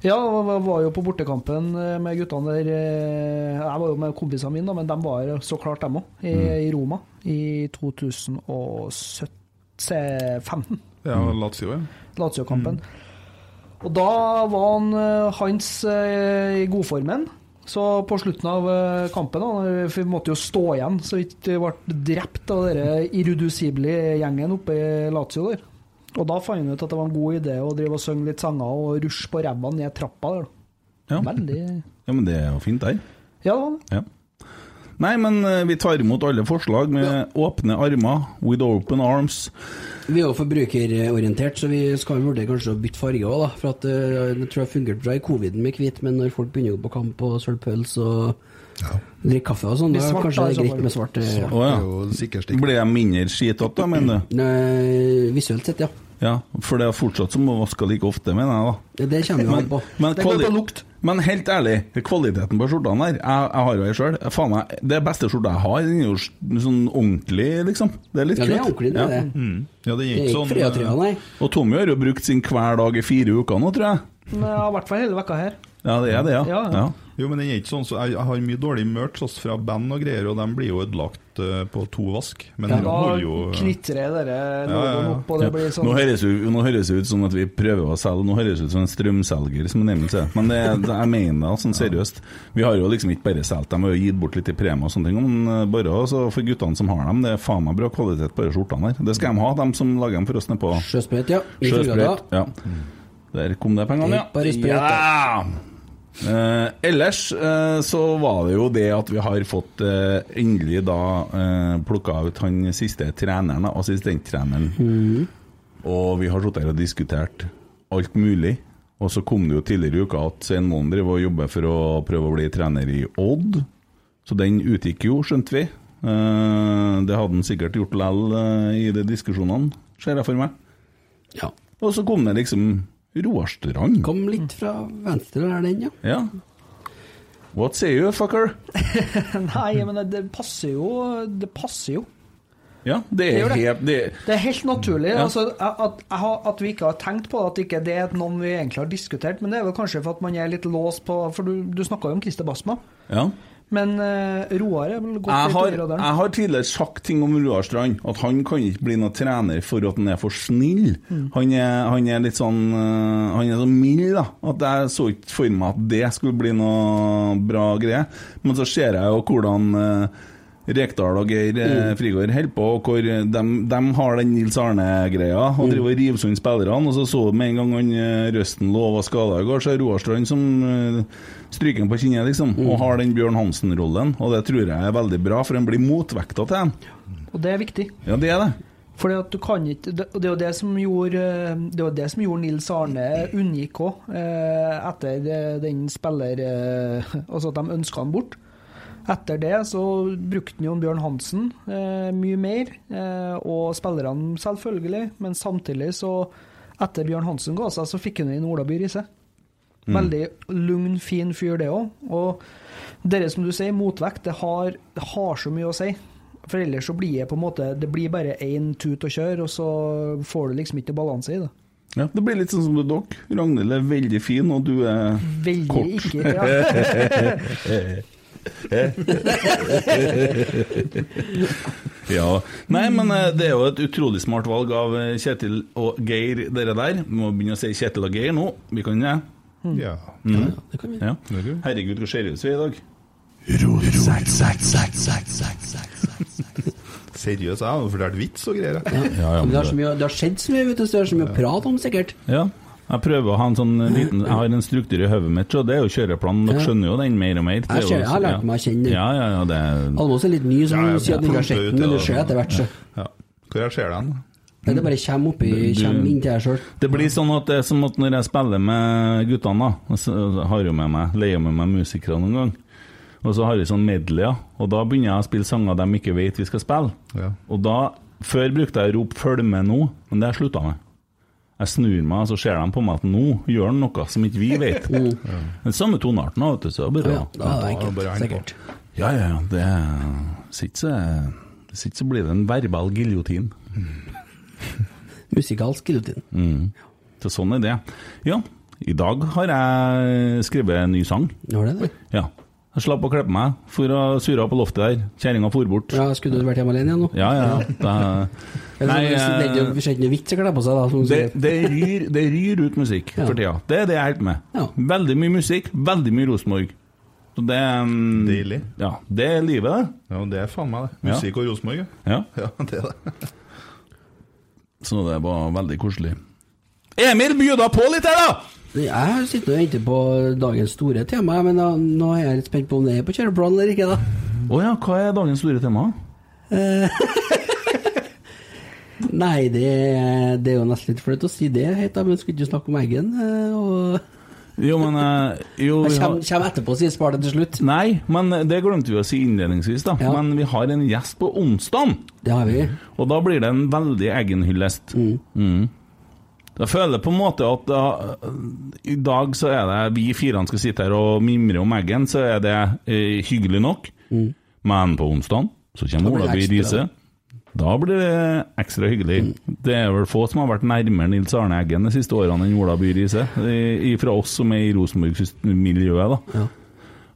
E: Ja, jeg var jo på bortekampen eh, med guttene der eh, Jeg var jo med kompisene mine, da, men de var jo så klart, dem òg, i, i Roma i 2015.
F: Ja, Lazio, ja.
E: Lazio-kampen.
F: Mm.
E: Og da var han eh, Hans eh, i godformen. Så på slutten av eh, kampen, da, når vi måtte jo stå igjen så vidt vi ble drept av den irredusible gjengen oppe i Lazio der. Og da fant han ut at det var en god idé å drive og synge litt sanger og rushe på ræva ned trappa der. da.
D: Ja.
E: Veldig
D: ja, men det er jo fint der.
E: Ja, det var det.
D: Ja. Nei, men eh, vi tar imot alle forslag med åpne armer, with open arms.
B: Vi er jo forbrukerorientert, så vi skal jo vurdere kanskje å bytte farge òg, da. For at eh, det tror jeg fungerte bra i coviden med hvit, men når folk begynner å gå på kamp og sølve pølse og drikke kaffe og sånn,
E: Blir
B: da
E: svart,
B: kanskje det er
E: da, i så
B: greit med svart. eh,
D: Å
F: Det
D: ja.
F: er jo sikkert ikke.
D: Blir jeg mindre skitete da, mener du?
B: Nei, visuelt sett, ja.
D: Ja, for det er fortsatt som å vaske like ofte, mener jeg da.
B: Det- Det kommer jo an
D: Men,
B: på.
D: men,
E: Det går
D: kvali-
E: på lukt.
D: men helt ærlig, kvaliteten på skjortene der Jeg, jeg har jo ei sjøl. Faen, jeg, det beste skjorta jeg har, den er jo s- sånn ordentlig, liksom. Det er litt
B: Ja, det er
D: kult.
B: ordentlig, det er
D: Ja.
B: det.
F: Mm.
B: Det
F: Ja, det er
B: er
F: ikke
B: ikke
F: sånn
B: frø og trøya, nei.
D: Og Tommy har jo brukt sin hver dag i fire uker nå, tror jeg.
E: Men jeg har i hvert fall hele vekka her.
D: Ja, det er det, ja.
E: Ja, ja.
D: ja.
F: Jo, men den er ikke sånn, så jeg, jeg har mye dårlig merch altså, fra band og greier, og de blir jo ødelagt eh, på to vask. Men
E: Da
F: den holder jo eh,
E: knitrer dere
F: ja,
E: logoen
F: ja.
E: opp, og det
D: Ja.
E: blir sånn
D: nå, høres det, ut- nå høres det ut som at vi prøver å selge, nå høres det ut som en strømselger som Emil sier. Men det, det, jeg mener det sånn seriøst. Vi har jo liksom ikke bare solgt dem, vi har jo gitt bort litt i premie og sånne ting. Men eh, bare altså, for guttene som har dem, det er faen meg bra kvalitet på de skjortene her. Det skal de ha, de som lager dem for oss nedpå
B: Sjøsprøyt, ja. I Fjordgata.
D: Sjøsprøyt. Ja. Der kom det pengene,
B: Ikke bare sprøyt,
D: ja. ja. Eh, ellers eh, så var det jo det at vi har fått eh, endelig da eh, plukka ut han siste treneren, da, assistenttreneren. Og vi har sittet her og diskutert alt mulig. Og så kom det jo tidligere i uka at Svein Moen driver og jobber for å prøve å bli trener i Odd. Så den utgikk jo, skjønte vi. Eh, det hadde han sikkert gjort lell eh, i de diskusjonene, ser jeg for meg.
B: Ja.
D: Og så kom det liksom Roar Strand.
B: Kom litt fra venstre der, den, ja.
D: Ja. What say you, fucker?
E: Nei, men det, det passer jo. Det passer jo.
D: Ja, det
E: Det
D: er
E: gjør det.
D: helt det.
E: Det er helt naturlig.
D: Ja.
E: Altså, at, jeg har- at vi ikke har tenkt på det, at ikke det er noen vi egentlig har diskutert. Men det er vel kanskje for at man er litt låst på For du, du snakka jo om Christer Basma.
D: Ja.
E: Men eh, Roar er vel godt
D: Jeg
E: litt
D: har,
E: under radaren.
D: jeg har tidligere sagt ting om Roar Strand, at han kan ikke bli noen trener for at han er for snill.
E: Mm.
D: Han, er, han er litt sånn øh, Han er så mild, da. At jeg så ikke for meg at det skulle bli noe bra greie. Men så ser jeg jo hvordan øh, Rekdal og Geir eh,
E: Mm.
D: Frigård holder på, og hvor de, har den Nils Arne-greia
E: Mm.
D: og driver og river sund spillerne. Og så så du med en gang han eh, Røsten lå og var skada i går, så er Roar Strand som eh, stryker han på kinnet, liksom.
B: Mm.
D: Og har den Bjørn Hansen-rollen, og det tror jeg er veldig bra, for han blir motvekta til den.
E: Og det er viktig.
D: Ja, det er det.
E: Fordi at du kan ikke, det, og det er jo det som gjorde, eh, det var det som gjorde Nils Arne unngikk òg, etter det- den spiller... eh, Altså at de ønska han bort. Etter det så brukte han Jon Bjørn Hansen eh, mye mer, eh, og spillerne selvfølgelig. Men samtidig så, etter Bjørn Hansen ga seg, så fikk han inn Ola By Riise. Veldig lugn, fin fyr, det òg. Og det som du sier, motvekt, det har, det har så mye å si. For ellers så blir det på en måte Det blir bare én tut og kjør, og så får du liksom ikke balanse i det.
D: Ja, det blir litt sånn som med dere. Ragnhild er veldig fin, og du er
E: Veldig
D: Kort.
E: ikke ja.
D: Ja. Nei, men eh, det er jo et utrolig smart valg av eh, Kjetil og Geir, dere der. Vi må begynne å si Kjetil og Geir nå. Vi kan det.
F: Ja. Mm.
B: Ja, det kan vi.
D: Ja.
F: Det er gøy.
D: Herregud, hvor seriøse vi er i dag.
G: Rotsekk, sekk, sekk, sekk, sekk, sekk, sekk, sekk.
F: Seriøst, jeg har jo fortalt vits og greier. jeg.
B: Men det, har så mye, det har skjedd så mye, vet du, så det er så mye å prate om, sikkert.
D: Ja. Jeg prøver å ha en sånn liten Jeg har en struktur i hodet mitt, og det er jo kjøreplanen. Dere
B: Ja.
D: skjønner jo den mer og mer. Det er
B: Jeg
D: jo-
B: ser- jeg har lært
D: ja.
B: meg å kjenne den.
D: Ja, ja, ja, det er
B: Almås er litt ny, så
F: Ja,
B: du
F: ja,
B: sier at du ikke har
F: plumper
B: sett
F: ut,
B: den, men
F: ja.
B: det skjer etter hvert, så.
D: Mm.
F: Ja. Hvor jeg ser den?
B: Nei, Det bare kommer oppi, kommer inntil deg sjøl.
D: Det blir sånn at det er som at når jeg spiller med guttene, da, og så har jeg med meg, leier med meg musikere noen gang, og så har vi sånn medleyer, og da begynner jeg å spille sanger de ikke vet vi skal spille.
F: Ja.
D: Og da, før brukte jeg å rope 'følg med nå', men det har jeg slutta med. Jeg snur meg, og så ser de på meg at nå gjør han noe som ikke vi vet. Den samme tonearten, da, vet du, så det er
B: Mm. Ja, ja, da
D: bare
B: er det
F: Ja,
B: enkelt.
F: bare heng på.
B: Sikkert.
D: Ja, ja, ja, det sitter så hvis ikke så blir det en verbal giljotin.
B: Musikalsk giljotin.
D: Så sånn er det. Ja, i dag har jeg skrevet en ny sang.
B: Har det det?
D: Ja. Jeg slapp å klippe meg, for å surre på loftet der. Kjerringa for bort.
B: Ja, skulle du vært hjemme alene igjen nå?
D: Ja, ja. Da-
B: Nei,
D: Nei,
B: det er ikke- det er ikke noe vits å kle på seg, da. Som du
D: det,
B: sier.
D: det, ryr, det ryr ut musikk
B: Ja.
D: for tida. Det er det jeg holder på med.
B: Ja.
D: Veldig mye musikk, veldig mye Rosenborg. Så det mm,
F: Deilig.
D: Ja, det er livet, det.
F: Ja, det er faen meg det.
D: Ja.
F: Musikk og Rosenborg, ja.
D: Ja.
F: ja. Det er det.
D: Så det var veldig koselig. Emil, bjuda på litt her, da!
B: Jeg sitter og venter på dagens store tema, men da, nå er jeg litt spent på om det er på kjøreplan eller ikke, da.
D: Å ja, hva er dagens store tema?
B: Nei, det, det er jo nesten litt flaut å si det, helt da, men skulle ikke snakke om eggen. eh, Og
D: Jo, men eh, jo, vi
B: jeg
D: har-
B: kommer, kommer etterpå og sier spar det til slutt.
D: Nei, men det glemte vi å si innledningsvis, da.
B: Ja.
D: Men vi har en gjest på onsdag,
B: Det har vi.
D: og da blir det en veldig egen hyllest. Mm. Jeg føler på en måte at da, i dag så er det vi fire skal sitte her og mimre om Eggen, så er det eh, hyggelig nok. Men på onsdag så
B: Mm. Da
D: kommer
B: blir det
D: Ola By
B: ekstra. Mm.
D: Riise. Da blir det ekstra hyggelig. Det er vel få som har vært nærmere Nils Arne Eggen de siste årene enn Ola By Riise, i- i- fra oss som er i Rosenborg-miljøet. da.
B: Ja.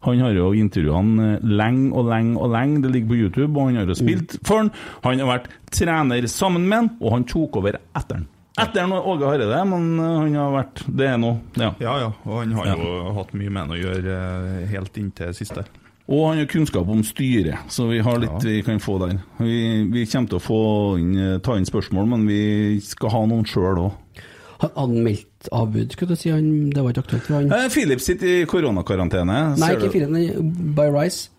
D: Han har jo intervjua han eh, lenge og lenge og lenge, det ligger på YouTube, og han har jo spilt for han. Han har vært trener sammen med han, og han tok over etter han. Etter han og Åge Hareide, men eh, han har vært Det er nå, ja.
F: Ja, ja. Og han har
D: Ja.
F: jo hatt mye med han å gjøre eh, helt inntil siste.
D: Og han har kunnskap om styret, så vi har litt
F: Ja.
D: vi kan få der. Vi, vi kommer til å få inn, eh, ta inn spørsmål, men vi skal ha noen sjøl òg.
B: Han anmeldt avbud, skulle du si. Han, det var ikke aktuelt for han.
D: Eh, Philip sitter i
B: Nei,
D: koronakarantene. ser
B: ikke
D: du.
B: fire, men by Rice.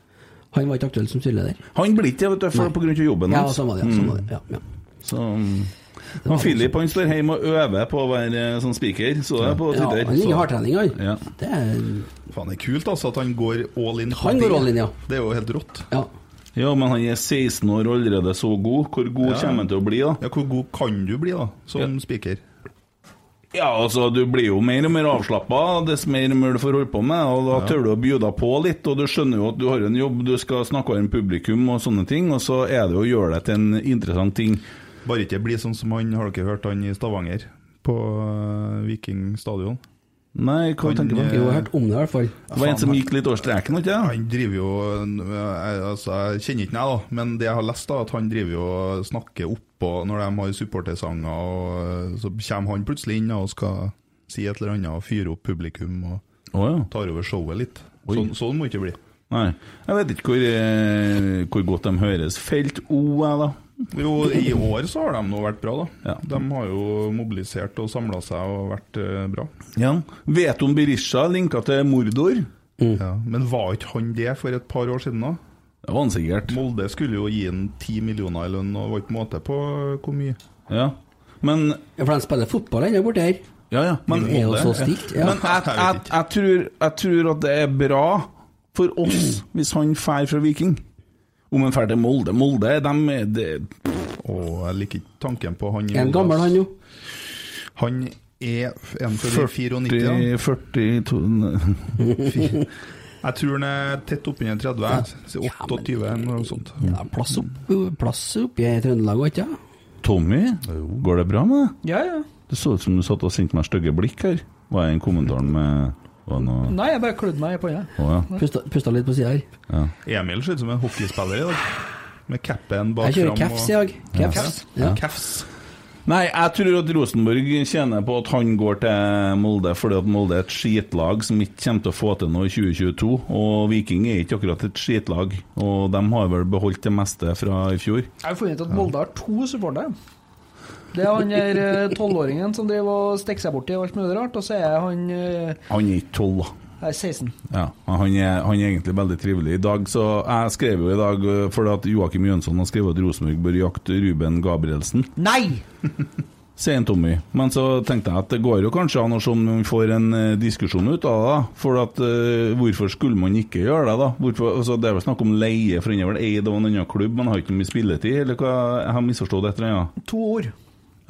B: Han var ikke aktuell som styreleder.
D: Han blir ikke det, vet du, for
B: Nei.
D: på grunn av jobben
B: Ja,
D: hans. Mm.
B: sånn var det. Ja, sånn var det. Ja, ja.
D: Så, um, han Philip han står hjemme og øver på å være eh, sånn speaker, så det er på
B: Ja,
D: Twitter.
B: han ligger
D: så-
B: i hardtrening, han.
D: Ja.
B: Det er,
F: Faen, det er kult altså at han går all in. på
B: Han går
F: det.
B: all in, ja.
F: Det er jo helt rått.
B: ja.
D: Ja, men han er 16 år og allerede så god. Hvor god
F: Ja.
D: kommer han til å bli, da?
F: Ja, Hvor god kan du bli da, som
D: Ja.
F: speaker?
D: Ja, altså, Du blir jo mer og mer avslappa dess mer og mer du får holde på med. og Da tør du å bjuda på litt, og du skjønner jo at du har en jobb, du skal snakke med publikum og sånne ting, og så er det jo å gjøre det til en interessant ting.
F: Bare ikke bli sånn som han, har dere hørt han i Stavanger? På eh, Viking stadion.
D: Nei, hva
F: Han, eh,
D: tenker du
B: Jo,
D: på?
B: jeg har hørt om det, i hvert fall.
D: Det var en som gikk litt over streken, ikke sant?
F: Han driver jo eh, jeg, altså, jeg kjenner ikke ham, da, men det jeg har lest, da, at han driver jo og snakker oppå når de har supportersanger, og eh, så kommer han plutselig inn da, og skal si et eller annet og fyre opp publikum og
D: Å ja.
F: tar over showet litt.
D: Oi.
F: Sånn, sånn må det ikke bli.
D: Nei. Jeg vet ikke hvor, eh, hvor godt de høres. Felt O, jeg, da.
F: Jo, i år så har de nå vært bra,
D: Ja.
F: da. De har jo mobilisert og samla seg og vært eh, bra.
D: Ja. Vet du om Berisha linka til Mordor? Mm.
F: Ja. Men var ikke han det for et par år siden, da?
D: Det var han sikkert.
F: Molde skulle jo gi han ti millioner i lønn, og var ikke måte på hvor mye.
D: Ja. Men
B: Ja, for de spiller fotball ennå borti her.
D: Ja, ja. Men,
B: Det er jo
D: Molde-
B: så stilt.
D: Men
B: Ja.
D: jeg, jeg, jeg, tror, jeg tror at det er bra for oss hvis han drar fra Viking. Om han drar til Molde Molde, de, de,
F: Og jeg liker ikke tanken på han i
B: En
F: Molde,
B: gammel, han jo.
F: Han er en for 94, ja.
D: de 40 to-
F: Jeg tror han er tett oppunder 30, jeg. Så 28 eller noe sånt.
D: Mm.
B: Ja, plass, opp, plass oppi i Trøndelag òg, ikke sant?
D: Tommy, går det bra med deg?
E: Ja, ja.
D: Det så ut som du satt og sendte meg stygge blikk her. Var jeg i kommentaren med var det noe?
E: Nei, jeg bare klødde meg i panna.
D: Å ja.
B: Pusta, pusta litt på sida her.
F: Emil ser ut som en hockeyspiller i dag. Med capen bak
B: Jeg kjører
F: fram
B: caps i dag. Caps. Ja.
F: Caps.
D: Nei, jeg tror at Rosenborg tjener på at han går til Molde, fordi at Molde er et skitlag som ikke kommer til å få til noe i 2022. Og Viking er ikke akkurat et skitlag, og de har vel beholdt det meste fra i fjor.
E: Jeg har funnet ut at Molde har to supportere. Det er han der eh, tolvåringen som driver og stikker seg borti alt mulig rart, og så er han eh,
D: Han er ikke tolv, da.
E: jeg er 16.
D: Ja, han er, han er egentlig veldig trivelig. I dag så, Jeg skrev jo i dag øh, fordi at Joakim Jønsson har skrevet at Rosenborg bør jakte Ruben Gabrielsen,
E: Nei!
D: sier en Tommy. Men så tenkte jeg at det går jo kanskje an å se om vi får en øh, diskusjon ut av det. da. For at, øh, hvorfor skulle man ikke gjøre det, da? Hvorfor, altså, det er vel snakk om leie, for han er vel eid av en annen klubb, men har ikke mye spilletid? Eller hva? Jeg har misforstått et eller annet?
E: To ord.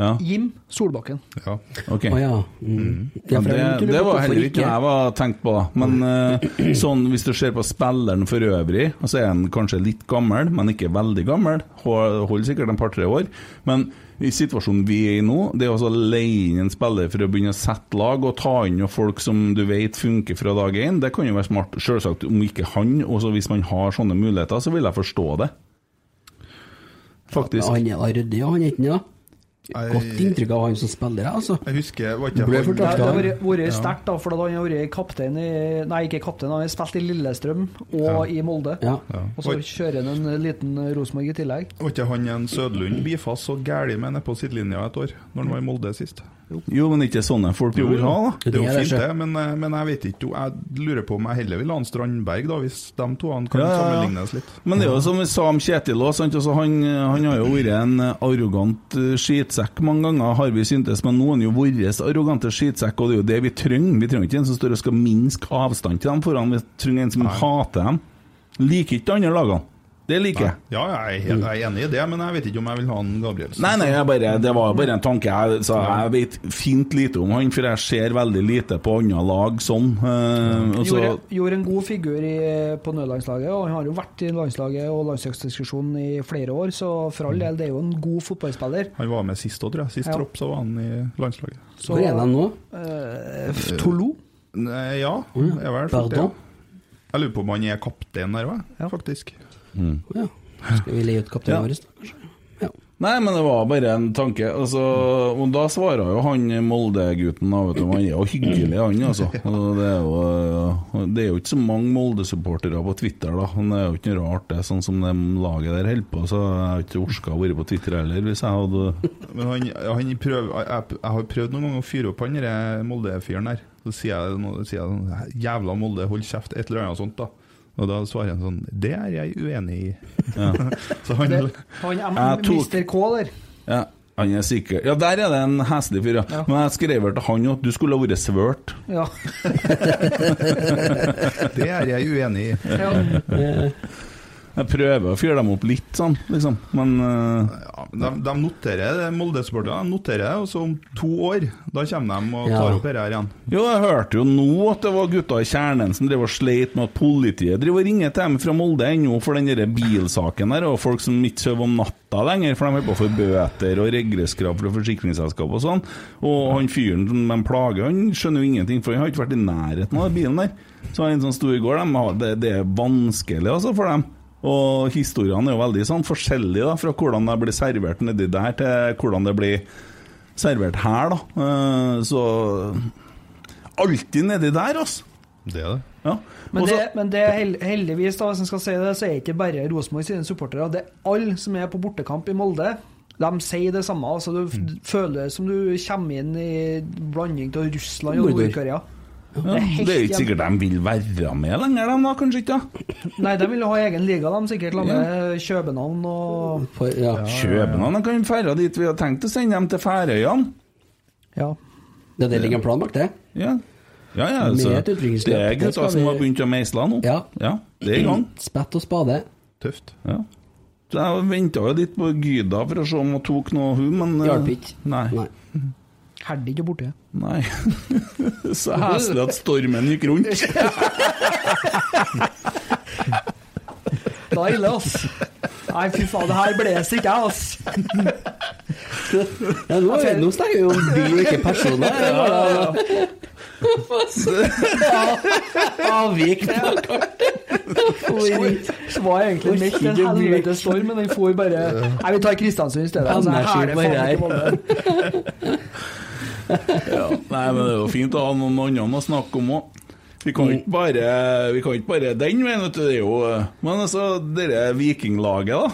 D: Ja,
E: Jim Solbakken.
F: Ja.
D: ok.
B: Å ja. Mm. Ja, for jeg
D: det,
B: lurer på
D: det var
B: hvorfor
D: heller ikke jeg var tenkt på. Men eh, sånn, hvis du ser på spilleren for øvrig, og så er han kanskje litt gammel, men ikke veldig gammel. Hå- Holder sikkert en par-tre år. Men i situasjonen vi er i nå, det er å leie inn en spiller for å begynne å sette lag, og ta inn noen folk som du vet funker fra dag én, det kan jo være smart. Selvsagt om ikke han, og hvis man har sånne muligheter, så vil jeg forstå det. Faktisk.
B: Han er da ryddig, og han er ikke det.
F: Jeg-
B: Godt inntrykk av han som spiller, altså.
F: Jeg husker var ikke
B: Ble
F: han-
E: Det
B: fortalt,
E: det har vært- vært sterkt, da, for da han har vært kaptein i Nei, ikke kaptein, han har spilt i Lillestrøm og i Molde.
B: Ja.
E: Og så kjører han en liten Rosenborg i tillegg.
F: Var ikke han en Sødlund bifast så gæli med nede på sidelinja et år, når han var i Molde sist?
D: Jo, men ikke sånne folk vi vil ha, da.
F: Det er
B: Det
F: jo
B: er det
F: fint,
B: ikke.
F: det, men, eh, men jeg vet ikke. jo, Jeg lurer på om jeg heller vil ha en Strandberg, da, hvis de to han kan
D: Ja, ja, ja.
F: sammenlignes litt.
D: Men det er jo som vi sa om Kjetil òg, sant. Altså, han, han har jo vært en arrogant eh, skitsekk mange ganger, har vi syntes, men nå er han jo vår arrogante skitsekk, og det er jo det vi trenger. Vi trenger ikke en som står og skal minske avstand til dem foran, vi trenger en som hater dem. Liker ikke de andre lagene. Det liker jeg.
F: Ja, jeg er, helt, jeg er enig i det, men jeg vet ikke om jeg vil ha en Gabrielsen.
D: Nei, nei, jeg bare, det var bare en tanke. Jeg, så jeg vet fint lite om han, for jeg ser veldig lite på andre lag sånn. eh, og så,
E: Gjorde, gjorde en god figur i, på nødlandslaget, og han har jo vært i landslaget og landslagsdiskusjonen i flere år, så for all del, det er jo en god fotballspiller.
F: Han var med sist òg, tror jeg. Sist
E: Ja.
F: tropp så var han i landslaget.
E: Så,
B: Hvor er de nå?
E: Eh, Tolo?
F: Nei, ja, jeg er vel fort det.
B: Mm. Pardon?
F: Jeg lurer på om han er kaptein der òg,
E: Ja.
F: faktisk.
B: Ja. Skal vi leie ut kapteinen
D: Ja.
B: vår, da, kanskje? Ja.
D: Nei, men det var bare en tanke. Altså, og da svarer jo han Molde-gutten, da, vet du. Han er jo hyggelig, han, altså. Og Det er jo, det er jo ikke så mange Molde-supportere på Twitter, da. Men det er jo ikke noe rart, det, sånn som det laget der holder på. Så jeg har ikke orka å være på Twitter heller, hvis jeg hadde
F: Men han, han prøv, jeg, jeg har prøvd noen ganger å fyre opp han der Molde-fyren der. Så sier jeg, noe- sier jeg sånn Jævla Molde, hold kjeft, et eller annet sånt, da. Og da svarer han sånn Det er jeg uenig i. så han
E: Det, han er
D: Jeg tok-
E: Mr. K, der.
D: Ja, han er sikker. Ja, der er det en heslig fyr, ja. Men jeg skrev vel til han at du skulle ha vært svørt.
E: Ja.
F: Det er jeg uenig i.
E: ja.
D: Jeg prøver å fyre dem opp litt, sånn, liksom. Men eh,
F: Ja, de, de noterer det, Molde-supporterne noterer det, og så om to år da kommer de og tar
B: Ja.
F: opp dette her igjen.
D: Jo, jeg hørte jo nå at det var gutta i kjernen som drev og sleit med at politiet driver og ringer til dem fra Molde ennå for den der bilsaken der, og folk som ikke sover om natta lenger, for de holder på å få bøter og regresskrav fra forsikringsselskap og sånn. Og han fyren som de plager, han skjønner jo ingenting, for han har ikke vært i nærheten av den bilen der. Så han som sto i går, de, har- det, det er vanskelig altså for dem. Og historiene er jo veldig sånn forskjellige da, fra hvordan det blir servert nedi der, til hvordan det blir servert her, da. Eh, Så alltid nedi der, altså.
F: Det er det.
D: Ja.
E: Men,
D: Og så-
E: det, men det er hel- heldigvis, da, hvis en skal si det, så er ikke bare Rosenborg sine supportere. Det er alle som er på bortekamp i Molde. De sier det samme. altså Du f-
D: Mm.
E: føler som du kommer inn i blanding av Russland og
B: Morder.
E: Nord-Korea.
D: ja, det er jo ikke sikkert de vil være med lenger, de da, kanskje ikke? da?
E: Nei, de vil jo ha egen liga, de sikkert. La med København og
B: For, ja.
D: København de kan ferde dit vi har tenkt å sende dem, til Færøyene.
E: Ja.
B: Det, det ligger en plan bak det.
D: Ja. Ja, ja,
B: Med
D: altså,
B: et
D: det
B: utviklingsløp,
D: er
B: det
D: gutta
B: skal
D: som
B: vi-
D: har begynt å meisle nå.
B: Ja.
D: Det er i gang.
B: Spett og spade.
F: Tøft.
D: Ja. Så jeg venta jo litt på Gyda for å se om hun tok noe, hun, men eh,
B: Hjalp ikke.
D: Nei.
B: Nei.
E: Herdig ikke borte.
D: nei. Så heslig at stormen gikk rundt.
E: Det er ille, ass. Nei, fy faen, det her blåser ikke, jeg, ass.
B: Ja, nå, er- nå snakker vi om by og ikke personer. Det var da- Avvik fra kartet.
E: Det var egentlig midt i en helvetes storm, men den får bare Nei, vi tar Kristiansund i stedet. Altså,
B: Anders
E: her er det
B: sier bare
E: faen ikke
B: her.
E: Molde.
D: Ja, nei, men det er jo fint å ha noen andre å snakke om òg. Vi kan jo ikke bare, vi kan jo ikke bare den veien, vet du. Det er jo Men altså, dette vikinglaget, da.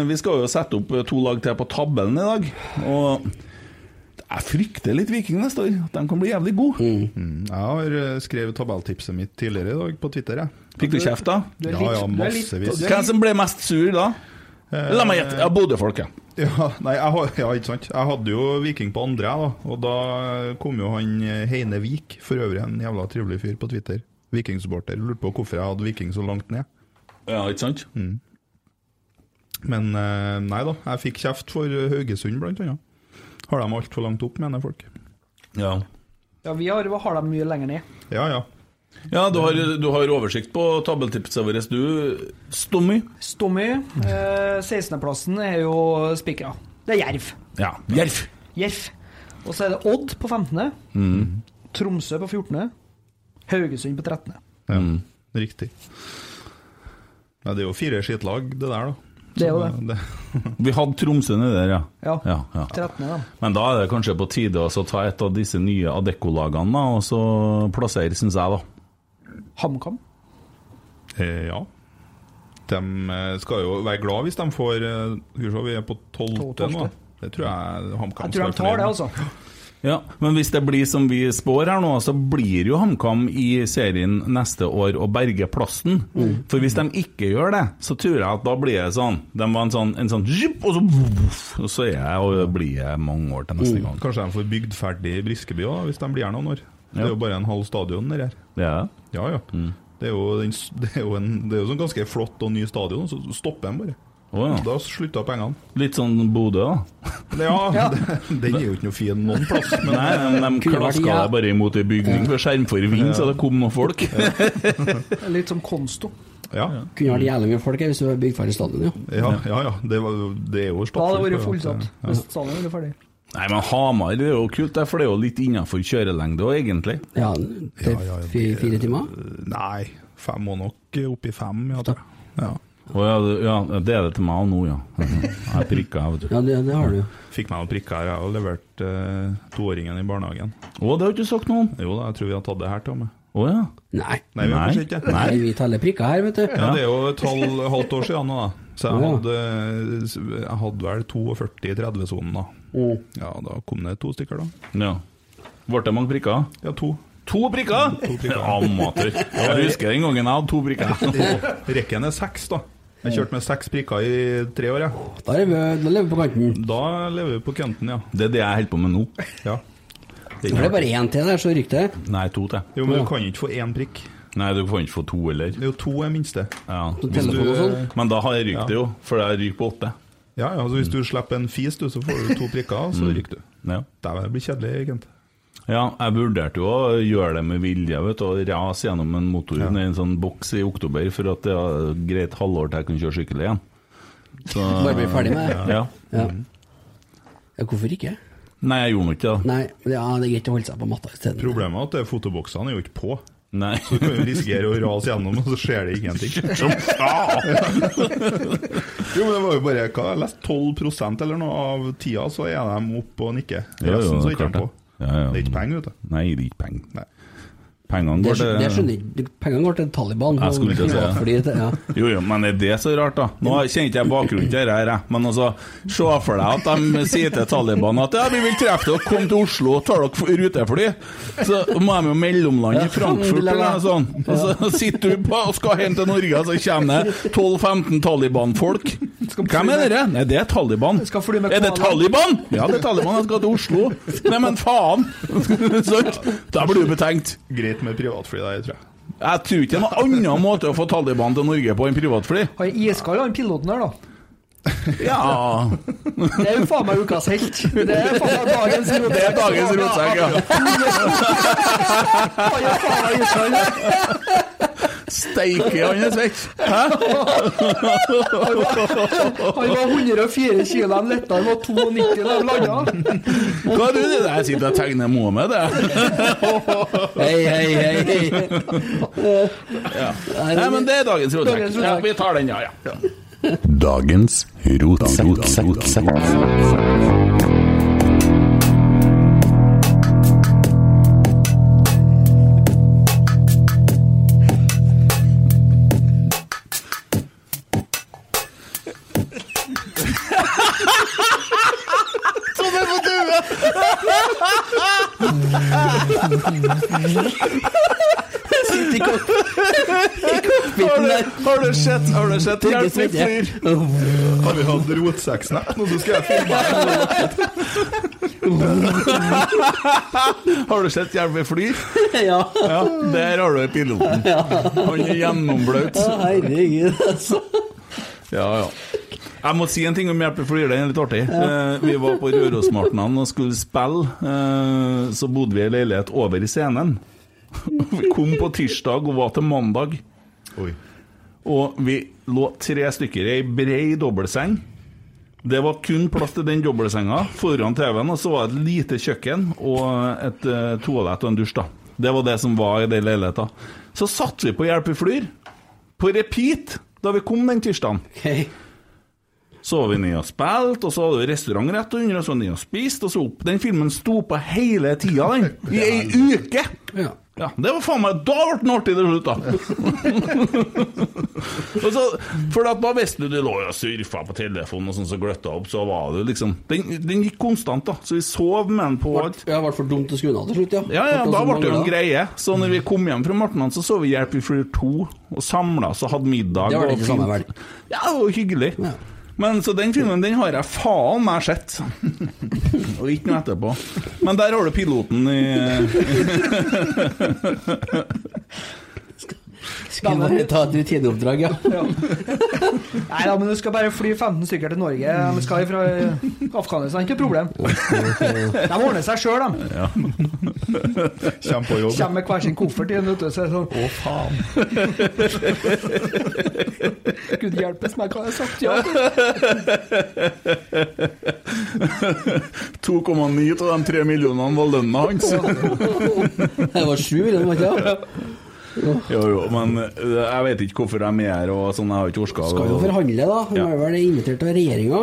D: eh, Vi skal jo sette opp to lag til på tabellen i dag. Og jeg frykter litt Viking neste år. At de kan bli jævlig gode.
F: Jeg har eh, skrevet tabelltipset mitt tidligere i dag på Twitter, jeg.
D: Fikk du kjeft, da?
E: Du er
F: Ja,
E: litt-
F: ja,
E: du er litt-
F: massevis.
E: du er
D: Hvem
E: litt-
D: som ble mest sur da? La meg gjette. Ja, Bodø-folket.
F: Ja, nei, jeg, har- ja, ikke sant. Jeg hadde jo Viking på andre, jeg, da. Og da kom jo han eh, Heine Vik, for øvrig en jævla trivelig fyr på Twitter. Vikingsupporter. Lurte på hvorfor jeg hadde Viking så langt ned.
D: Ja, ikke sant?
F: Men eh, nei da, jeg fikk kjeft for eh, Haugesund, blant annet. Har de altfor langt opp, mener folk.
D: Ja.
E: Ja, vi har, har dem mye lenger ned.
F: Ja ja.
D: Ja, du har, du har oversikt på tabelltipset vårt, du, Stommy.
E: Stommy, eh, 16.-plassen er jo spikra. Det er Jerv.
D: Ja. Jerv.
E: Jerv. Og så er det Odd på 15.
D: Mm.
E: Tromsø på 14. Haugesund på 13.
F: ja. Riktig. Ja, det er jo fire skittlag, det der, da.
E: Det er jo
F: Så,
E: det.
F: eh,
D: Vi hadde Tromsø nedi der, ja.
E: Ja.
D: Ja, ja.
E: 13. da.
D: Men da er det kanskje på tide å så ta et av disse nye Adecco-lagene da, og så plassere, syns jeg, da.
E: HamKam.
F: Eh, ja. De eh, skal jo være glad hvis de får eh, Skal vi se, vi er på tolvte nå.
E: Tolvte.
F: Det tror jeg HamKam
E: Jeg tror de
F: skal
E: tar
F: være
E: det,
F: fornøyd med.
E: altså.
D: Ja, Men hvis det blir som vi spår her nå, så blir jo HamKam i serien neste år å berge plassen.
B: Mm.
D: For hvis de ikke gjør det, så tror jeg at da blir det sånn. De var en sånn, en sånn zjup, og så, voff, og så er jeg, og det blir jeg mange år til
B: Mm.
D: neste gang.
F: Kanskje de får bygd ferdig Briskeby også, hvis de blir her noen år. Det er jo bare en halv stadion der her.
D: Det er det.
F: Ja, ja.
D: Mm.
F: Det er jo, den, s- det er jo en det er jo sånn ganske flott og ny stadion, så stopper de bare.
D: Å, ja.
F: Da slutter pengene.
D: Litt sånn Bodø, da.
F: Ja, den er jo ikke noe fin noen plass. Men
D: Nei, de, de
B: Kunne vært,
D: klaska
B: ja.
D: deg bare imot ei bygning ved skjermforving, så det kom noen folk.
E: Litt som Konsto.
F: ja,
B: Kunne vært jævlig mye folk her hvis du hadde bygd ferdig stadionet, ja.
F: ja, ja. ja det, var, det er
E: Da
F: jo
E: hadde det
F: stappfullt,
E: vært
F: ja.
E: fullsatt. Hvis salen hadde vært ferdig.
D: Nei, men Hamar det er jo kult, det, for det er jo litt innafor kjørelengde òg, egentlig.
B: Ja, det
F: Ja, ja,
B: er
F: det-
B: fire, fire timer?
F: Eh, Nei, fem må nok eh, opp i fem, ja. tror jeg. ja.
D: Å ja, det- ja, det er det til meg også nå, ja. Mhm. Jeg prikka, vet du.
B: Ja, det, det har du jo.
F: Fikk meg noen prikker her. Jeg har levert eh, toåringen i barnehagen.
D: Å, det har du ikke sagt noe om?
F: Jo da, jeg tror vi har tatt det her, Tomme.
D: Å ja.
B: Nei.
F: Nei, vi har
D: Nei.
F: kanskje ikke det.
B: Nei, vi teller prikker her, vet du.
F: Ja, det er jo et halv, halvt år siden nå, da. Så jeg
B: Ja.
F: hadde, jeg hadde vel 42 i 30-sonen da.
B: Mm.
F: Ja, da kom det to stykker, da.
D: ja. Ble det mange prikker?
F: Ja, to.
D: To prikker!
F: To prikker.
D: Amatør. Jeg husker den gangen jeg hadde to prikker.
F: Rekken er seks, da. Jeg kjørte med seks prikker i tre år, jeg.
B: Da lever vi da lever vi på kanten.
F: Da lever vi på kønten, ja.
D: Det er det jeg holder på med nå.
F: ja.
B: Da er det bare én til der, så rykker det.
D: Nei, to til.
F: Jo, men du kan ikke få én prikk.
D: Nei, du får ikke få to heller.
F: Det er jo to er minste.
D: Ja.
B: Så telefon og sånn.
D: Men da har jeg rykt det jo, for jeg ryker på åtte.
F: Ja, ja, så hvis du slipper en fis, du, så får du to prikker,
D: Mm.
F: så rykker du.
D: Ja.
F: Dæven, det blir kjedelig, egentlig.
D: Ja, jeg vurderte jo å gjøre det med vilje, vet du, og rase gjennom en motor i en sånn boks i oktober for at det er greit halvår til jeg kunne kjøre sykkel igjen. Så,
B: Bare bli ferdig med det.
D: ja.
B: Ja. ja, hvorfor ikke?
D: Nei, jeg gjorde nå ikke det.
B: Nei, men ja, det er greit å holde seg på matta isteden.
F: Problemet er at det er fotoboksene er jo ikke på.
D: Nei.
F: Du kan jo risikere å rase gjennom, og så skjer det ingenting.
D: Som faen!
F: Jo, men det var jo bare hva, jeg leste 12 eller noe av tida, så er de oppe og nikker.
D: Jo, jo,
F: Resten så
D: det er
F: ikke
D: klart
F: de på.
D: det. Ja, ja.
F: Det er ikke penger, vet du.
D: Nei, det er ikke penger.
F: Nei.
D: Pengene
B: Det
D: går
B: skjø-
D: til
B: det skjønner jeg ikke. Pengene går til Taliban.
D: Jeg skulle til å si det.
B: Fordi det. Ja.
D: Jo, jo, men er det så rart, da? Nå kjenner ikke jeg bakgrunnen til dette, her, jeg. men altså, se for deg at de sier til Taliban at ja, vi vil treffe dere, kom til Oslo og tar dere f- rutefly. Så må de jo mellomlande i Frankfurt eller noe sånt. Og så sitter du på og skal hjem til Norge, og så kommer det 12-15 Taliban-folk. Hvem er dere? Nei, det er Taliban.
E: Skal fly med
D: Er det
E: koala.
D: Taliban? Ja, det er Taliban. Jeg skal til Oslo. Nei, men faen! Sant? Da blir du betenkt.
F: Greit med privatfly der, tror jeg.
D: Jeg tror ikke det er noen annen måte å få Taliban til Norge på enn privatfly.
E: Han er iskald, han piloten der, da.
D: Ja,
E: Det er jo faen meg ukas helt. Det er faen meg dagens rotsekk.
D: det er dagens rotsekk, ja.
E: Han er faen meg iskald.
D: Steike, han er svett.
E: Han var 104 kilo, han letta, han var 92 da han landa.
D: Hva er du det der? Jeg sitter og tegner Mohammed, jeg.
B: Hei, hei, hei, hei.
D: Nei, men det er dagens
E: Dagens
D: rotsekk.
E: rotsekk.
D: Ja, vi tar den, ja, ja.
G: Dagens rotsekk.
B: Sitt i kok- i cockpiten der.
D: Har du sett, har du sett
B: Trygge svette.
F: Har vi hatt rotsekksnapp nå, så skal jeg filme.
D: Har du sett Hjelp vi flyr?
B: Ja,
D: Ja, der har du piloten. Han er gjennomblaut.
B: herregud, altså.
D: Ja, ja. Jeg må si en ting om Hjelp vi flyr, den er litt artig. Eh, Vi var på Rørosmartnan og skulle spille, eh, så bodde vi i leilighet over i scenen. Vi kom på tirsdag og var til mandag.
F: Oi.
D: Og vi lå tre stykker i ei brei dobbeltseng. Det var kun plass til den dobbeltsenga foran TV-en, og så var det et lite kjøkken og et eh, toalett og en dusj, da. Det var det som var i den leiligheta. Så satte vi på Hjelp i flyr, på repeat, da vi kom den tirsdagen.
B: Ok.
D: Så var vi ned og spilte, og så hadde vi restaurant rett under, og så var vi ned og spiste, og så opp. Den filmen sto på hele tida, den. I ei uke!
B: Ja.
D: Ja, det var faen meg Da ble den artig til slutt, da! og så, for at da visste du Du lå jo og surfa på telefonen, og sånn så gløtta opp, så var du liksom Den, den gikk konstant, da. Så vi sov med den på alt.
B: Ja, det ble for dumt å skru den av til slutt, ja.
D: Ja, ja, da
B: sånn
D: ble det jo en
B: grei
D: greie. Så når vi kom hjem fra Martnan, så så vi Hjelp i flyr 2, og samla oss og hadde middag.
B: Det var det
D: og
B: ikke samme
D: fint.
B: vel?
D: Ja, det var hyggelig.
B: Ja.
D: Men Så den filmen den har jeg faen meg sett. Og ikke noe etterpå. Men der har du piloten i eh,
B: Skal bare ta et rutineoppdrag, ja.
E: Nei da, men du skal bare fly 15 stykker til Norge. De skal fra Afghanistan, ikke noe problem. De ordner seg sjøl, de.
F: Kjem på jobb.
E: Kommer med hver sin koffert igjen, vet du. Så er det sånn Å, faen. Gud hjelpes meg, hva har jeg sagt? Ja,
D: 2,9 av de 3 millionene var lønna hans.
B: Det var sju, eller noe sånt. ja.
D: Jo, jo, men eh, jeg vet ikke hvorfor de er her, og sånn, jeg har ikke orka å-
B: Skal jo forhandle, da. Hun
D: Ja.
B: er vel invitert av regjeringa.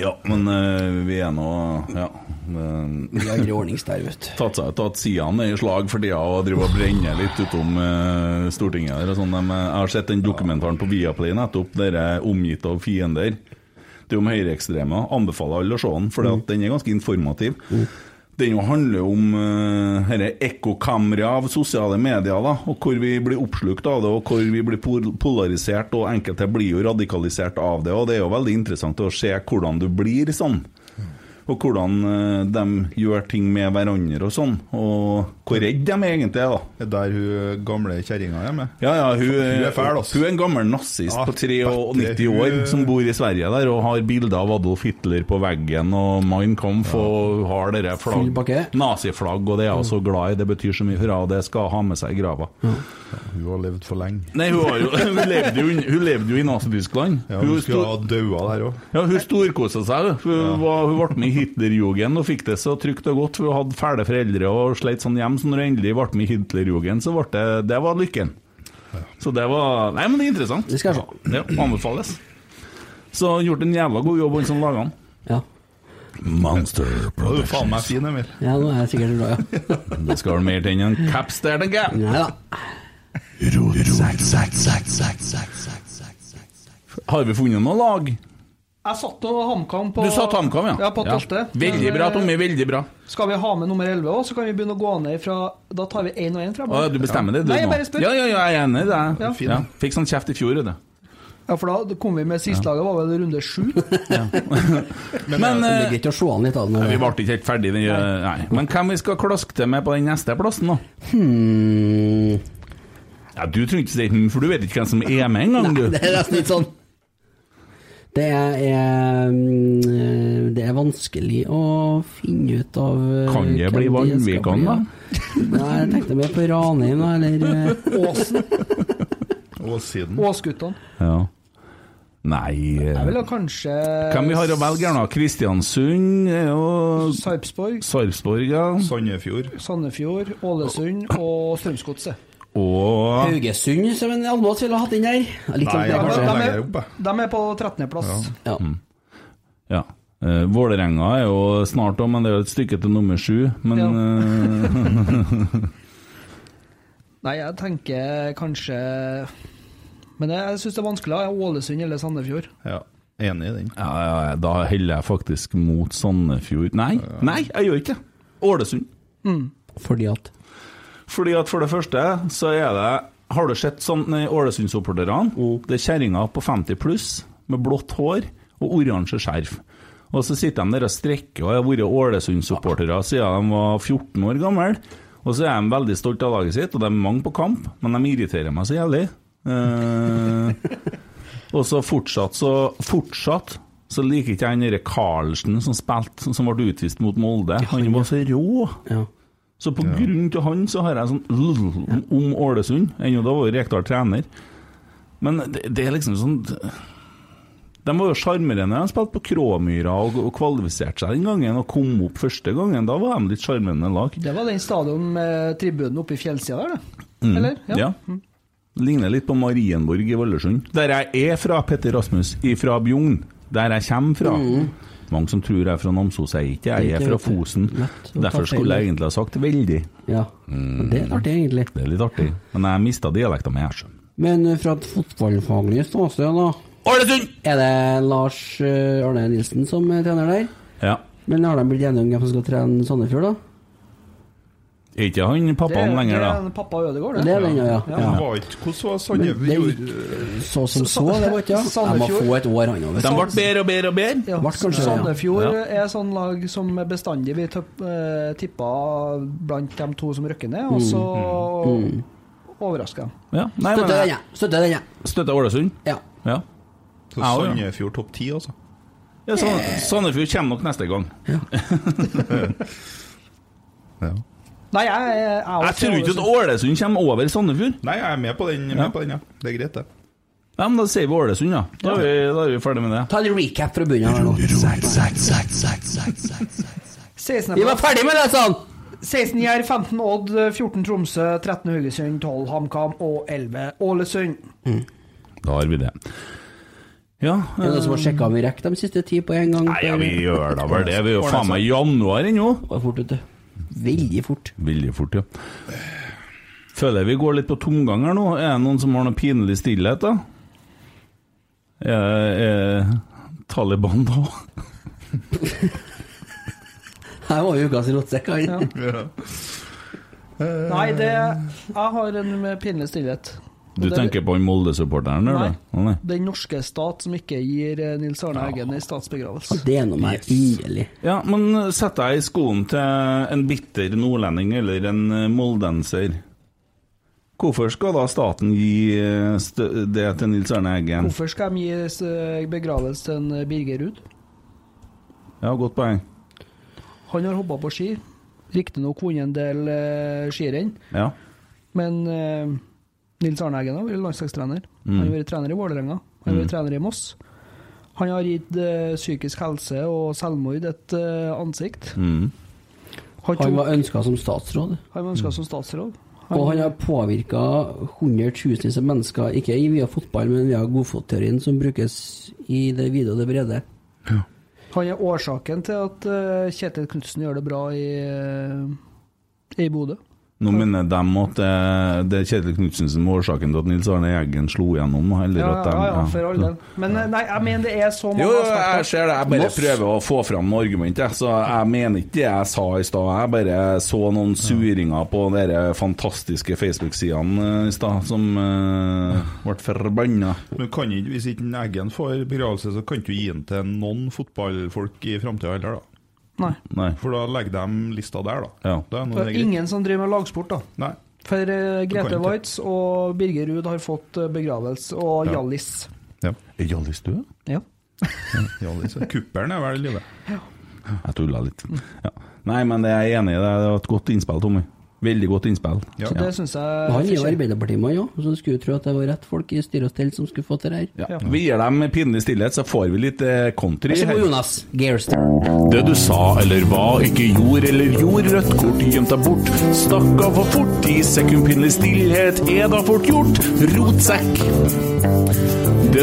D: Ja, men eh, vi er nå Ja. eh,
B: Vi har grei ordnings der, vet du.
D: Tatt seg ut at sidene er i slag for tida og driver og brenner litt utom eh, Stortinget. Der, og sånn. De, eh, jeg har sett den dokumentaren på Viaplay nettopp, der er omgitt av fiender. Det er om høyreekstreme. Anbefaler alle å se den, for den er ganske informativ. Den jo handler om uh, ekkokamera av sosiale medier, da, og hvor vi blir oppslukt av det, og hvor vi blir pol- polarisert, og enkelte blir jo radikalisert av det. og Det er jo veldig interessant å se hvordan du blir sånn. Og hvordan eh, de gjør ting med hverandre og sånn. Og hvor redd de egentlig er, da.
F: Der hun gamle kjerringa er med.
D: Ja, ja, hun,
F: Hun er fæl, ass.
D: Hun er en gammel nazist
F: Ja,
D: på 93
F: bedre, hun-
D: år som bor i Sverige der og har bilder av Adolf Hitler på veggen og Mein Kampf og har dere
B: Full
D: flagg,
B: pakke.
D: naziflagg, og det er hun så glad i. Det betyr så mye. Hurra, det skal hun ha med seg i grava.
F: Hun har levd for lenge.
D: Nei, hun, har jo, hun, levde jo, hun levde jo i Nazi-Tyskland.
F: Ja,
D: Hun
F: hun skulle
D: sto-
F: ha daua der òg.
D: ja, hun storkosa seg. da. Hun, var, hun ble med i Hitlerjugend og fikk det så trygt og godt. Hun hadde fæle foreldre og sleit sånn hjem, så når hun endelig ble med i Hitlerjugend, så ble det, det var lykken. Så det var Nei, men det er interessant.
B: Det skal jeg se.
D: Ja, anbefales. Så han gjort en jævla god jobb, han som laga den.
B: Ja.
D: Monster
F: Du er faen meg fin, Emil.
B: ja, nå er jeg sikkert bra, ja.
D: Det skal vel mer til enn en caps there, tenker jeg.
B: Nei da.
G: Rotsekk, sekk, sekk, sekk, sekk, sekk, sekk, sekk, sekk.
D: Har vi funnet noe lag?
E: jeg satt og HamKam på
D: Du sa TamKam, ja.
E: Ja, på tolvte. eh,
D: Veldig bra, Tommy. Veldig bra.
E: Skal vi ha med nummer 11 òg, så kan vi begynne å gå ned fra Da tar vi én og én
D: Å,
E: fremover.
D: du bestemmer det, du
E: Nei, jeg
D: nå.
E: bare spør.
D: Ja, ja, ja, jeg er enig i det.
E: Ja.
D: Ja. Fikk sånn kjeft i fjor, det.
E: Ja, for da kom vi med sist laget, var vel runde sju?
D: Men
B: Det
D: eh,
B: er greit å se an litt av den.
D: Vi ble ikke helt ferdig, den, nei. Men hvem vi skal klaske til med på den neste plassen, da?
B: Hmm.
D: Ja, Du trenger ikke si hm, for du vet ikke hvem som er med engang, du.
B: Det er nesten litt sånn. Det er, eh, mm, det er vanskelig å finne ut av eh,
D: Kan det
B: hvem
D: bli
B: skal
D: Vanvikan,
B: bli,
D: da?
B: ja. Nei, jeg tenkte mer på Ranheim, da, eller eh,
E: Åsen,
F: Og siden.
E: Åsguttene.
D: Ja. Nei eh,
E: Jeg ville kanskje
D: Hvem vi har å velge her, nå? Kristiansund er jo
E: Sarpsborg,
D: Sarpsborg, ja.
F: Sandefjord.
E: Sandefjord, Ålesund og Strømsgodset.
D: Og
B: Haugesund, som en Almås ville ha hatt inn der. Ja, Litt
F: Nei,
B: sånn,
F: jeg
B: det,
F: har
B: kanskje.
F: så
E: Ja, men-
F: lenge oppe.
E: De er på 13.-plass.
B: Ja.
D: Mm. ja. Eh, Vålerenga er jo snart òg, men det er jo et stykke til nummer sju. Men eh,
E: Nei, jeg tenker kanskje Men jeg syns det er vanskelig. ja, Ålesund eller Sandefjord.
F: Ja, enig i den.
D: eh, ja, ja, ja, da heller jeg faktisk mot Sandefjord Nei, nei, jeg gjør ikke det. Ålesund.
B: Fordi at
D: Fordi at for det første så er det Har du sett sånn nei, Ålesund-supporterne? Det er kjerringer på 50 pluss med blått hår og oransje skjerf. Og så sitter de der og strekker og har vært Ålesund-supportere siden de var 14 år gamle. Og så er de veldig stolte av laget sitt, og det er mange på kamp, men de irriterer meg så jævlig. Eh, og så fortsatt så Fortsatt så liker ikke jeg han derre Carlsen som spilte, som ble utvist mot Molde. Han var så rå.
B: Ja.
D: Så på grunn til han så har jeg sånn lll om Ålesund. Ennå da var jo Rekdal trener. Men det, det er liksom sånn De var jo sjarmerende. De spilte på Kråmyra og, og kvalifiserte seg den gangen og kom opp første gangen. Da var de litt sjarmerende lag.
E: Det var den stadion med tribunen oppe i fjellsida der, det. Eller?
D: Mm. Ja. Ligner litt på Marienborg i Vålesund. Der jeg er fra, Petter Rasmus, ifra Bjugn. Der jeg kommer fra. Mange som tror jeg er fra Namsos, jeg er Mm. ikke det. Jeg er fra Fosen. Derfor skulle jeg egentlig ha sagt veldig.
B: Ja. Det
D: Mm.
B: er artig, egentlig.
D: Det er litt artig. Men jeg mista dialekta mi, jeg skjønner.
B: Men eh, fra et fotballfaglig ståsted, da
D: Ålesund!
B: Er det Lars eh, Arne Nilsen som er trener der?
D: Ja.
B: Men har de blitt enige om hvem som skal trene Sandefjord, da?
D: Er ikke han pappaen
E: det,
D: lenger,
E: Det
D: da?
E: er pappa Ødegaard,
B: Det er den, ja.
E: Ja.
B: ja.
F: Var ikke, hvordan var Sandnes?
B: Men
F: Vi
B: det
F: gjorde-
B: Så som så, det var ikke ja. Jeg må
E: Sandefjord.
B: få et år, han òg.
D: De ble bedre og bedre og bedre.
E: Ja.
B: Vart kanskje det, ja.
E: Sandefjord er sånn lag som bestandig vi tøpp- eh, tippa blant de to som røkker ned, og så
B: Mm.
E: Mm. overraska dem.
D: Ja. Nei, men
B: Støtter den,
D: jeg
B: ja. Støtter den, ja.
D: støtter Ålesund.
B: ja.
D: Ja.
F: Så
D: Ja, ja.
F: Sandefjord topp ti, altså.
D: Ja, Sand- Sandefjord kommer nok neste gang.
F: Ja.
E: Nei, jeg, jeg, jeg,
D: Jeg tror ikke at Ålesund kommer over Sandefjord.
F: Nei, jeg er med på den, med på den ja. det er greit, det.
D: Ja, men Da sier vi Ålesund, ja. Da er vi, da er vi ferdig med det.
B: Ta en recap fra bunnen her nå.
G: Zack, zack, zack, zack, zack, zack, zack, zack.
E: 16.
B: Vi var ferdig med det, sa han!
E: 16 Jerv, 15 Odd, 14 Tromsø, 13 Haugesund, 12 HamKam og 11 Ålesund.
D: Da har vi det. Ja,
B: Er det noen som har sjekka om vi rekker de siste ti på en gang?
D: Nei, ja, vi gjør da vel det. Vi er jo faen meg i januar ennå.
B: Det var fort, vet du. Veldig fort.
D: Veldig fort, ja. Føler jeg vi går litt på tomgang her nå. Er det noen som har noe pinlig stillhet, da? Er, er Taliban da?
B: Her var jo ukas rotsekk, han.
E: Nei, det Jeg har en med pinlig stillhet. Og det
D: Du
E: er
D: tenker på han Molde-supporteren der, da? Å, Nei.
E: Den norske stat som ikke gir eh, Nils Arne Eggen en statsbegravelse.
B: Det er noe mer inderlig.
D: Ja, men sett deg i skoen til en bitter nordlending eller en eh, moldenser. Hvorfor skal da staten gi eh, stø- det til Nils Arne Eggen?
E: Hvorfor skal de gi eh, begravelse til en eh, Birger Ruud?
D: Ja, godt poeng.
E: Han har hoppa på ski. Riktignok vunnet en del eh, skirenn,
D: Ja.
E: men eh, Nils Arne Eggen har vært landslagstrener. Han
B: Mm.
E: har vært trener i Vålerenga. Han har vært trener i Moss. Han har gitt eh, psykisk helse og selvmord et eh, ansikt.
D: Mm.
E: Han, tok,
B: Han var ønska som statsråd,
E: ønska som statsråd.
B: og han har påvirka hundretusenvis av mennesker, ikke i via fotball, men via godfotteorien som brukes i det vide og det brede.
E: han er årsaken til at eh, Kjetil Knutsen gjør det bra i, eh, i Bodø.
D: Nå minner de at eh, det er Kjetil Knutsen som er årsaken til at Nils Arne Eggen slo igjennom. Eller
E: Ja,
D: at
E: ja,
D: de,
E: ja, for all del. Men eh, nei, jeg mener det er så mange
D: Jo, jo, jeg
E: aspekter.
D: ser det. Jeg bare
B: Moss.
D: prøver å få fram noe argument. Jeg. Så jeg mener ikke det jeg sa i stad. Jeg bare så noen suringer på de fantastiske Facebook-sidene eh, i stad som eh, ble forbanna.
F: Men kan ikke, hvis ikke Eggen får begravelse, så kan du gi den til noen fotballfolk i framtida heller, da.
E: Nei.
D: Nei.
F: For da legger de lista der, da.
D: Ja.
F: Da er nå
E: Det
F: det
E: er
F: greit.
E: ingen som driver med lagsport, da.
F: Nei.
E: For eh,
F: kan
E: Grete
F: ikke.
E: Waitz og Birger Ruud har fått eh, begravelse, og
F: Ja.
E: Hjallis.
F: Ja.
D: Er Hjallis død?
E: Ja.
F: Ja, liksom. Kuppelen er vel i live.
D: Jeg tulla litt. Ja. Nei, men det er jeg enig i. Det var et godt innspill, Tommy. Veldig godt innspill.
F: Ja.
E: Så det syns jeg
B: Og han er jo
E: fortjener-
B: Arbeiderpartimann òg, så du skulle jo tro at det var rett folk i styre og stell som skulle få til det her.
D: Ja. Vi gir dem pinlig stillhet, så får vi litt eh, country.
B: Vær så
D: her.
B: god, Jonas Geirstad.
H: Det du sa eller hva ikke gjorde eller gjorde, rødt kort gjemt deg bort. Stakk av for fort, ti sekund pinlig stillhet er da fort gjort. Rotsekk. Det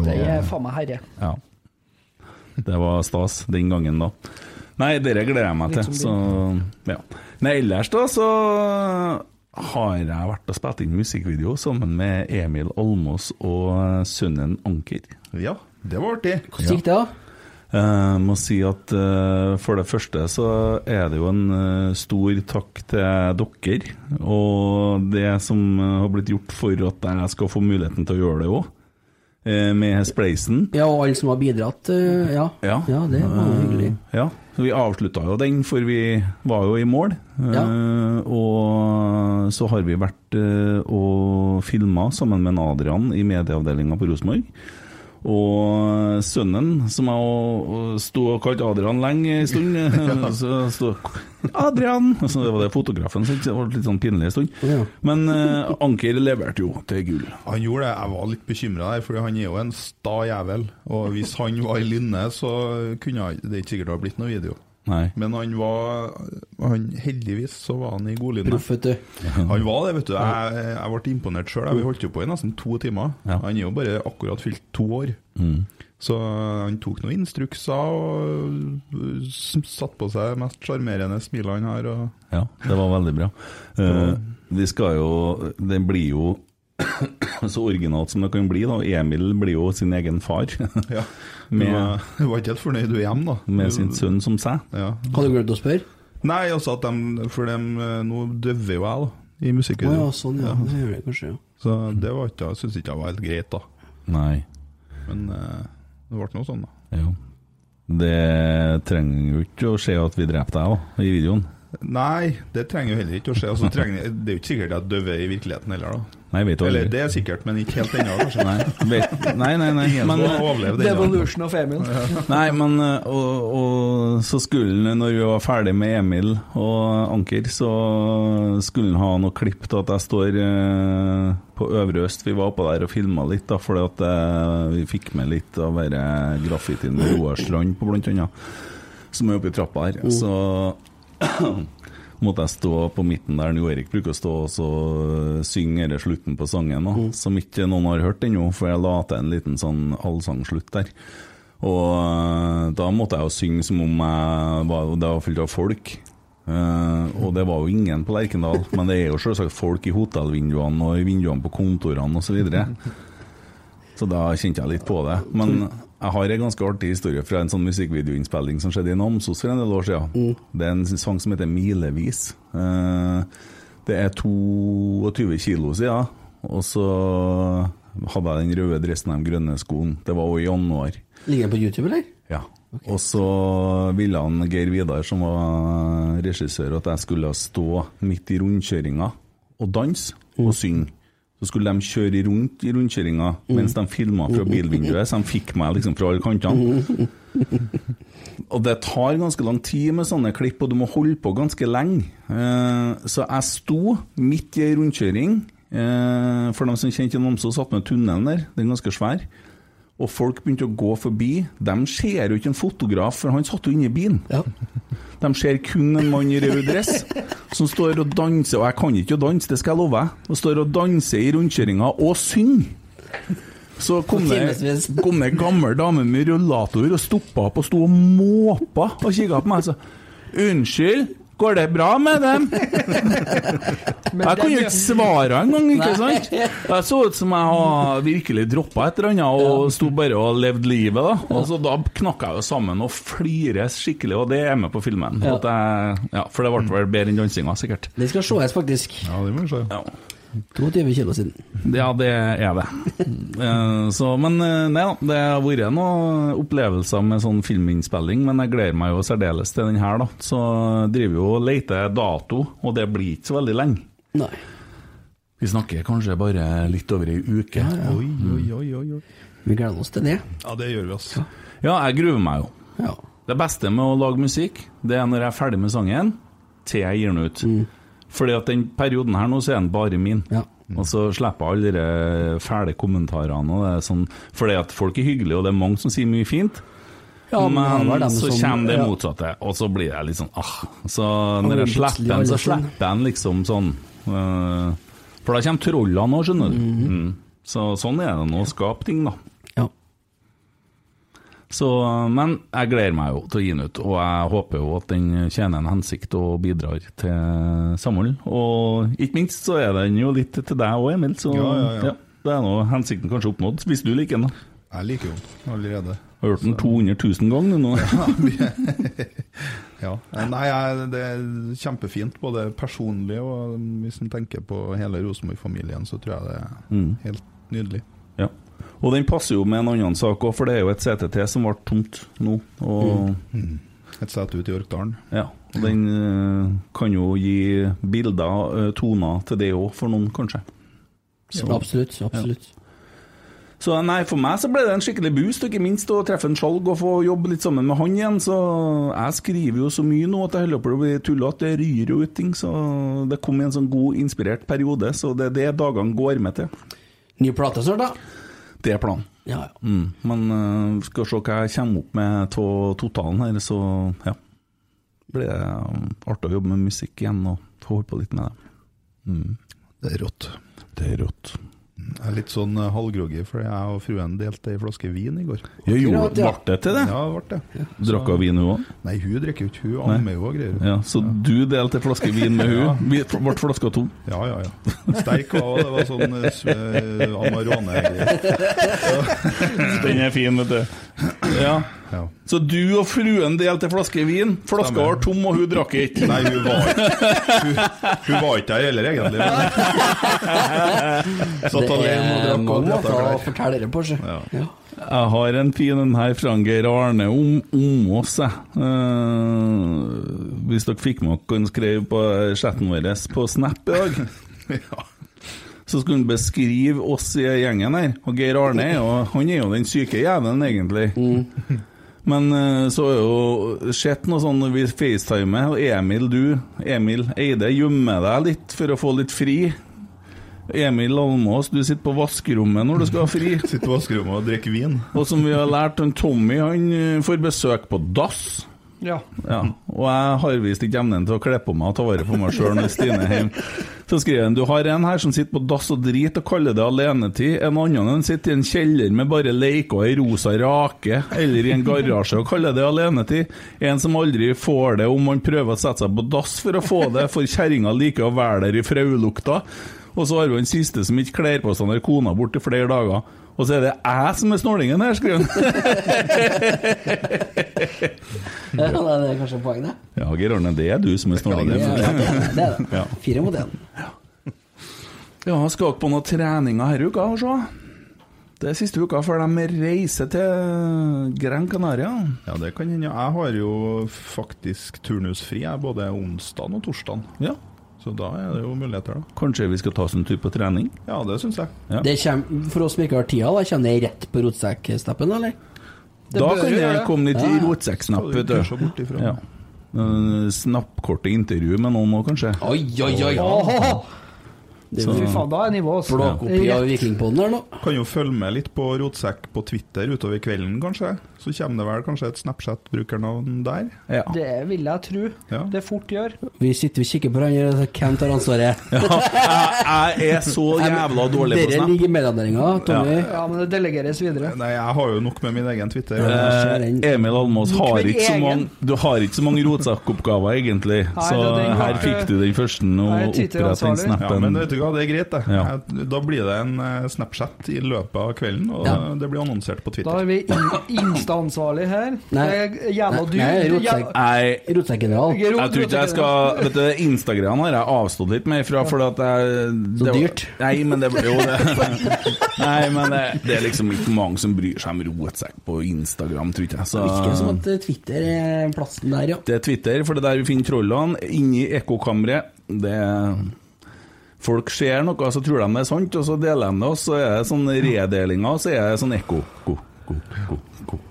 E: Det er faen meg herre.
D: ja. Det var stas den gangen, da. Nei, dette gleder jeg meg til.
E: Litt
D: Så, ja. Nei, ellers, da, så har jeg vært og spilt inn musikkvideo sammen med Emil Almås og eh, sønnen Anker.
F: ja, det var artig.
B: Hvordan gikk det, da?
D: Jeg må si at eh, for det første så er det jo en eh, stor takk til dere og det som eh, har blitt gjort for at jeg skal få muligheten til å gjøre det òg, med spleisen.
B: Ja, og alle som har bidratt. eh, Ja, ja. det var jo hyggelig.
D: Eh, Ja, så Vi avslutta jo den, for vi var jo i mål. Eh,
B: Ja.
D: Og så har vi vært eh, og filma sammen med Adrian i medieavdelinga på Rosenborg. Og sønnen, som jeg og- og sto og kalte Adrian lenge en stund eh, så sto, 'Adrian!' Så det var det fotografen syntes. Det var litt sånn pinlig en stund.
B: Ja.
D: Men eh, Anker leverte jo til gull.
F: Han gjorde det. Jeg var litt bekymra der, for han er jo en sta jævel. Og hvis han var i Lynne, så kunne han- det er ikke sikkert det har blitt noe video.
D: Nei.
F: Men han var han, Heldigvis så var han i godlynne.
B: Proff, vet du.
F: Han var det, vet du. Jeg, jeg ble imponert sjøl. Vi holdt jo på i nesten to timer.
D: Ja.
F: Han er jo bare akkurat fylt to år. Så han tok noen instrukser og s- satte på seg det mest sjarmerende smilet han har. Og
D: Ja, det var veldig bra. Eh, vi skal jo Det blir jo så originalt som det kan bli, da. Emil blir jo sin egen far.
F: ja.
D: Med-
F: Du var- Du var ikke helt fornøyd du hjem, da?
D: Med sin sønn som seg.
F: Ja.
B: Hadde du glemt å spørre?
F: Nei, altså at de For dem, eh, nå døver jo jeg, da, i
B: Å ja,
F: musikkvideoen.
B: sånn, ja. Det gjør jeg kanskje, ja.
F: Så det var ikke, syns ikke jeg var helt greit, da.
D: Nei.
F: Men eh, det ble nå sånn, da.
D: Jo. Det trenger jo ikke å skje at vi dreper deg da, i videoen.
F: Nei, det trenger jo heller ikke å skje. Altså, trenger, det er jo ikke sikkert jeg døver i virkeligheten heller, da.
D: Nei, vet du
F: Eller
D: aldri.
F: det er sikkert, men ikke helt ennå, kanskje.
D: Nei, vet, nei, nei. nei. Men,
F: Men overleve den. da.
E: Devolution of Emil.
D: Nei, men eh, og, og så skulle han, når vi var ferdig med Emil og Anker, så skulle han ha noe klipp til at jeg står eh, på Øvre Øst. Vi var oppe der og filma litt, da, fordi at eh, vi fikk med litt av denne graffitien med Roar Strand på, blant annet, som er oppe i trappa her. Så måtte jeg stå på midten der Jo Erik bruker å stå og så eh, synge denne slutten på sangen, da, som ikke noen har hørt ennå, for jeg la til en liten sånn allsangslutt der. Og eh, da måtte jeg jo synge som om jeg var, det var fullt av folk. Eh, og det var jo ingen på Lerkendal, men det er jo selvsagt folk i hotellvinduene og i vinduene på kontorene osv. Så, videre. så da kjente jeg litt på det. Men jeg har en ganske artig historie fra en sånn musikkvideoinnspilling som skjedde i Namsos for en del år siden. Det er en sang som heter 'Milevis'. Eh, det er 22 kilo siden, og så hadde jeg den røde dressen og de grønne skoene. Det var jo i januar.
B: Ligger den på YouTube, eller?
D: Ja. Og så ville han Geir Vidar, som var regissør, at jeg skulle stå midt i rundkjøringa og danse og synge. Så skulle de kjøre rundt i rundkjøringa mens de filma fra bilvinduet, så de fikk meg liksom fra alle kantene. Og det tar ganske lang tid med sånne klipp, og du må holde på ganske lenge. Eh, Så jeg sto midt i ei rundkjøring. eh, For dem som kjente Namsos, satt med tunnelen der, den er ganske svær og folk begynte å gå forbi. De ser jo ikke en fotograf, for han satt jo inne i bilen.
B: Ja.
D: De ser kun en mann i rød dress som står og danser, og jeg kan ikke å danse, det skal jeg love deg, og står og danser i rundkjøringa og synger. Så kom det,
B: Timevis.
D: kom det en gammel dame med rullator og stoppa opp og sto og måpa og kikka på meg og sa Unnskyld, går det bra med dem?
E: Men
D: jeg kunne jo
E: den-
D: ikke svare engang, ikke
B: Nei.
D: sant? Jeg så ut som jeg har virkelig droppa et eller annet og sto bare og levde livet, da. Og så da knakk jeg jo sammen og flires skikkelig, og det er med på filmen.
B: Ja.
D: At jeg, ja, for det ble vel bedre enn dansinga, sikkert.
B: Det skal sees, faktisk.
F: Ja, det må vi se.
D: Ja.
B: 22 kilo siden.
D: Ja, det er det. Eh, Så, men eh, nei da, det har vært noen opplevelser med sånn filminnspilling, men jeg gleder meg jo særdeles til den her, da. Så eh, driver jo og leter dato, og det blir ikke så veldig lenge.
B: Nei.
D: Vi snakker kanskje bare litt over ei uke.
F: Oi, oi, oi, oi, oi.
B: Vi gleder oss til det.
F: Ja, det gjør vi, altså.
D: Ja, jeg gruer meg jo.
B: Ja.
D: Det beste med å lage musikk, det er når jeg er ferdig med sangen, til jeg gir den ut. Fordi at den perioden her nå, så er den bare min.
B: Mm.
D: Mm.
B: Ja.
D: Og så slipper jeg alle de fæle kommentarene. Og det er sånn, fordi at folk er hyggelige, og det er mange som sier mye fint. men
B: det var dem
D: så
B: som-
D: kommer det
B: ja.
D: motsatte, og så blir jeg litt sånn ah. Så
B: blir
D: når jeg
B: plutselig
D: slipper den,
B: alle
D: så
B: sånn.
D: slipper jeg den liksom sånn. eh, for da kommer trollene òg, skjønner du.
B: Mhm.
D: Mm. Så sånn er det nå å skape ting, da.
B: Ja.
D: Så, men jeg gleder meg jo til å gi den ut, og jeg håper jo at den tjener en hensikt og bidrar til samhold. Og ikke minst så er den jo litt til deg òg, Emil, så
F: Ja, ja, ja.
D: det er nå hensikten kanskje oppnådd. Hvis du liker den, da.
F: Jeg liker jo den allerede.
D: Har hørt den 200 000 ganger nå.
F: Ja. Eh, Nei, jeg, det er kjempefint, både personlig og um, hvis en tenker på hele Rosenborg-familien, så tror jeg det er helt nydelig.
D: Ja. Og den passer jo med en annen sak òg, for det er jo et CTT som ble tomt nå. Og,
F: Mm. Et sete ute i Orkdalen.
D: ja, og den eh, kan jo gi bilder, eh, toner, til det òg, for noen, kanskje.
B: Så, absolutt. absolutt.
D: Så nei, for meg så ble det en skikkelig boost, og ikke minst å treffe en skjalg og få jobbe litt sammen med han igjen. Så jeg skriver jo så mye nå at jeg holder på å bli tullete. Det ryr jo ut ting. Så det kom i en sånn god, inspirert periode. Så det er det dagene går med til.
B: Ny plate snart, da?
D: Det er planen.
B: Ja, ja.
D: Mm. Men eh, skal se hva jeg kommer opp med av totalen her, så ja. Blir det eh, artig å jobbe med musikk igjen og få holde på litt med det. Mm.
F: Det er rått.
D: Det er rått.
F: Jeg er litt sånn eh, halvgroggy, for jeg og fruen delte ei flaske vin i går.
D: Ja, jo,
B: Akkurat, ja.
D: ble det til det?
F: Ja, det ble det.
D: Drakk hun vin, hun òg?
F: Nei, hun drikker jo ikke, hun ammer jo og greier.
D: Ja, så du delte en flaske vin med hun Vi- Ble flaska tom?
F: Ja, ja, ja. Sterk var hun, det var sånn eh, s- eh, Amarone-greier.
D: Den er fin, vet du. Ja.
F: Ja.
D: Så du og fruen delte en flaske vin. Flaska
F: Stemmer.
D: var tom, og hun drakk ikke.
F: Nei, hun var ikke Hun, hun var ikke der heller, egentlig. Men. Satt
B: Det
F: alene og
B: er
F: drakk og
B: mange
F: lette
B: måter å
F: klær.
B: fortelle det på, sjø. Ja.
D: Jeg har en fin en her fra Geir Arne om, om oss, jeg. Eh, hvis dere fikk med dere han skrev på chatten vår på Snap i dag. Så skulle han beskrive oss i gjengen her. Og Geir Arne er jo, han er jo den syke jævelen, egentlig. Men eh, så har jo sett noe sånn når vi facetimer, og Emil, du, Emil Eide, gjemmer deg litt for å få litt fri. Emil Almås, du sitter på vaskerommet når du skal ha fri.
F: Sitter i vaskerommet og drikker vin.
D: Og som vi har lært, han Tommy han eh, får besøk på dass.
E: Ja.
D: Ja, og jeg har visst ikke evnen til å kle på meg og ta vare på meg sjøl når Stine er hjemme. Så skriver han du har en her som sitter på dass og driter og kaller det alenetid. En annen han sitter i en kjeller med bare leker og ei rosa rake, eller i en garasje og kaller det alenetid. En som aldri får det om han prøver å sette seg på dass for å få det, for kjerringa liker å være der i fraulukta. Og så har vi den siste som ikke kler på seg når kona er borte i flere dager. Og så er det jeg som er snålingen her, skriver han.
B: det er kanskje poenget, det.
D: Ja, Geir Arne, det er du som er
B: Det
D: snålingen.
B: er det. er det.
D: Ja.
B: Fire mot én.
D: Ja, skal dere på noen treninger her i uka og se? Det er siste uka før de reiser til Gran Canaria.
F: Ja, det kan hende. Jeg har jo faktisk turnusfri jeg, både onsdag og torsdag.
D: Ja,
F: Så da er det jo muligheter, da.
D: kanskje vi skal ta oss en tur på trening?
F: Ja, det syns jeg.
D: Ja.
B: Det kommer, for oss som ikke har tida, da, kommer det rett på rotsekksteppen, eller?
D: da
E: bør
D: kan
E: jo
D: det
E: det.
D: komme litt
B: Ja.
D: rotsekksnapp,
F: Skal
D: vet
F: du kurse
D: du.
F: bort ifra.
D: Ja. Eh, Snappkorte intervju med noen òg, kanskje.
B: Oi, oi, oi!
E: Åh,
B: Det er
E: fy
B: jo
E: faen, da er nivået altså.
B: blåkopi av Vikingpodden her nå.
F: Kan jo følge med litt på Rotsekk på Twitter utover kvelden, kanskje. Så kommer det vel kanskje et Snapchat-brukernavn der.
D: Ja.
E: Det vil jeg tro.
F: Ja.
E: Det fort gjør.
B: Vi sitter og kikker på hverandre, og så hvem tar ansvaret?
D: Jeg er så jævla dårlig på
B: Dere
D: snap.
B: ligger i mellomnæringa, Tommy.
E: Ja, men det delegeres videre.
F: Nei, jeg har jo nok med min egen Twitter.
B: Ja.
D: Eh, Emil Almås har
E: Min
D: ikke så
E: egen.
D: mange Du har ikke så mange rotsekkoppgaver, egentlig. Så
E: det er den
D: her
E: ganske-
D: fikk du den første, og
E: Jeg er
D: opprett den
E: Twitter-ansvarlig.
F: Ja, men
D: snappen.
F: vet du du hva, det er greit, det.
D: Ja.
F: Jeg- Da blir det en eh, Snapchat i løpet av kvelden, og
B: Ja.
F: det blir annonsert på
E: Da
F: Twitter.
E: er vi in- Insta-ansvarlig her.
B: Nei.
E: Det er Jævla
B: Nei, nei,
E: dyr.
B: rotsekk.
D: Nei,
B: Rotsekkgeneral.
E: Jeg
D: Jeg tror ikke jeg skal Vet du, Instagram har jeg avstått litt mer fra, fordi at jeg det var-
B: dyrt.
D: Nei, men det Jo, det Nei, men det, det er liksom ikke mange som bryr seg om rotsekk på Instagram, tror ikke jeg.
B: Virker som
D: Så
B: at eh, Twitter er plassen der, ja.
D: det er Twitter, for det er der vi finner trollene. Inni ekkokammeret. Det er- Folk ser noe, så tror de det er sant, og så deler de det, og så er det sånne redelinger, og så er det sånn ekko. Ko, ko, ko, ko.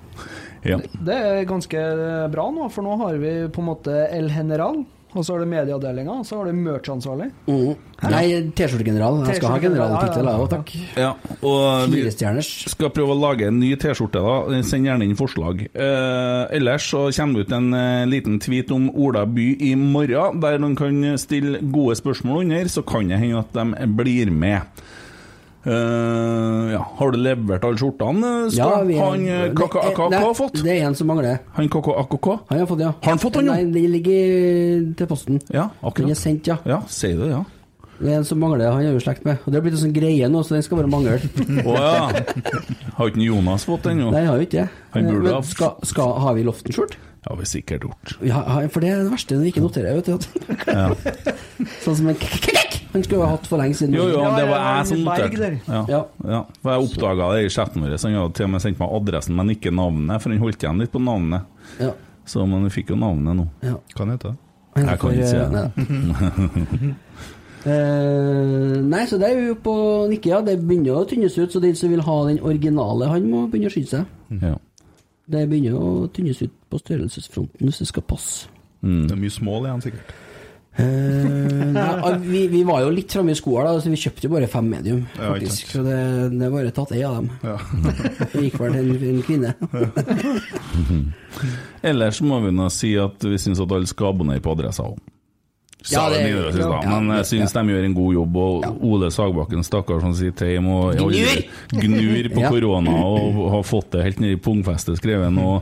D: Ja.
E: Det er ganske bra nå, for nå har vi på en måte El General. Og så har du medieavdelinga, og så har du merch-ansvarlig.
B: Mhm. Nei, T-skjortegeneral. Jeg skal ha generaltittel, jeg òg, takk.
D: ja. Og vi-
B: Firestjerners.
D: skal prøve å lage en ny T-skjorte, da. Send gjerne inn forslag. Eh, ellers så kommer det ut en eh, liten tweet om Ola by i morgen, der noen kan stille gode spørsmål under, så kan det hende at de blir med. Eh, ja. Har du levert alle skjortene?
B: Ja,
D: Skal
B: vi er-
D: han eh,
B: Det-
D: KK AKK
B: nei,
D: har fått?
B: Det er en som mangler.
D: Han KK AKK?
B: Han har fått, ja.
D: Har han fått den, jo?
B: Nei, den ligger til posten.
D: Ja,
B: Den er
D: akkurat.
B: sendt, ja.
D: Ja, sier du det, ja.
B: Det er en som mangler, han er jo i slekt med. Og Det har blitt en sånn greie nå, så den skal bare mangle.
D: Å ja. Har ikke Jonas fått den ennå?
B: Nei, jeg har jo ikke det.
D: Han burde ha-
B: Men skal, skal, har vi Loften-skjort?
D: Har vi sikkert gjort.
B: Ja, ha- for det er det verste når vi ikke noterer, vet du. at- sånn som en krekk! Han skulle jo ha hatt for lenge siden.
D: Jo, jo,
E: Ja,
D: det
E: ja,
D: var
E: ja,
D: jeg som
E: Berg
D: noterte.
E: der.
D: Ja,
B: Ja.
D: ja. For jeg oppdaga det i chatten vår. så Han hadde til og med sendt meg adressen, men ikke navnet. For han holdt igjen litt på navnet.
B: Ja.
D: Så men vi fikk jo navnet nå.
B: ja.
F: Hva heter det?
B: Han
D: Jeg kan
B: får,
D: ikke si
B: eh,
D: det.
B: nei. Eh, nei, så det er vi jo på nikke, ja. Det begynner å tynnes ut, så den som vil ha den originale, han må begynne å skynde seg.
D: Ja.
B: Det begynner å tynnes ut på størrelsesfronten hvis det skal passe.
D: Mm.
F: Det er mye smål igjen, sikkert.
B: Eh, nei, al- vi, vi var jo litt framme i skoa, da, så vi kjøpte jo bare fem medium.
F: Ja, ikke
B: faktisk, Så
F: sant.
B: det, det er bare tatt ei av dem.
F: Ja.
B: Det gikk vel til en, en kvinne.
D: Ellers må vi nå si at vi syns at alle skal abonnere på adressa òg.
B: Ja,
D: Sa det
B: det-
D: Nidaros i stad,
B: ja,
D: men jeg syns de gjør en god jobb. Og Ole Sagbakken, stakkar, som sitter hjemme og
B: Gnur!
D: gnur på
B: Ja.
D: korona og har fått det helt ned i pungfestet skrevet og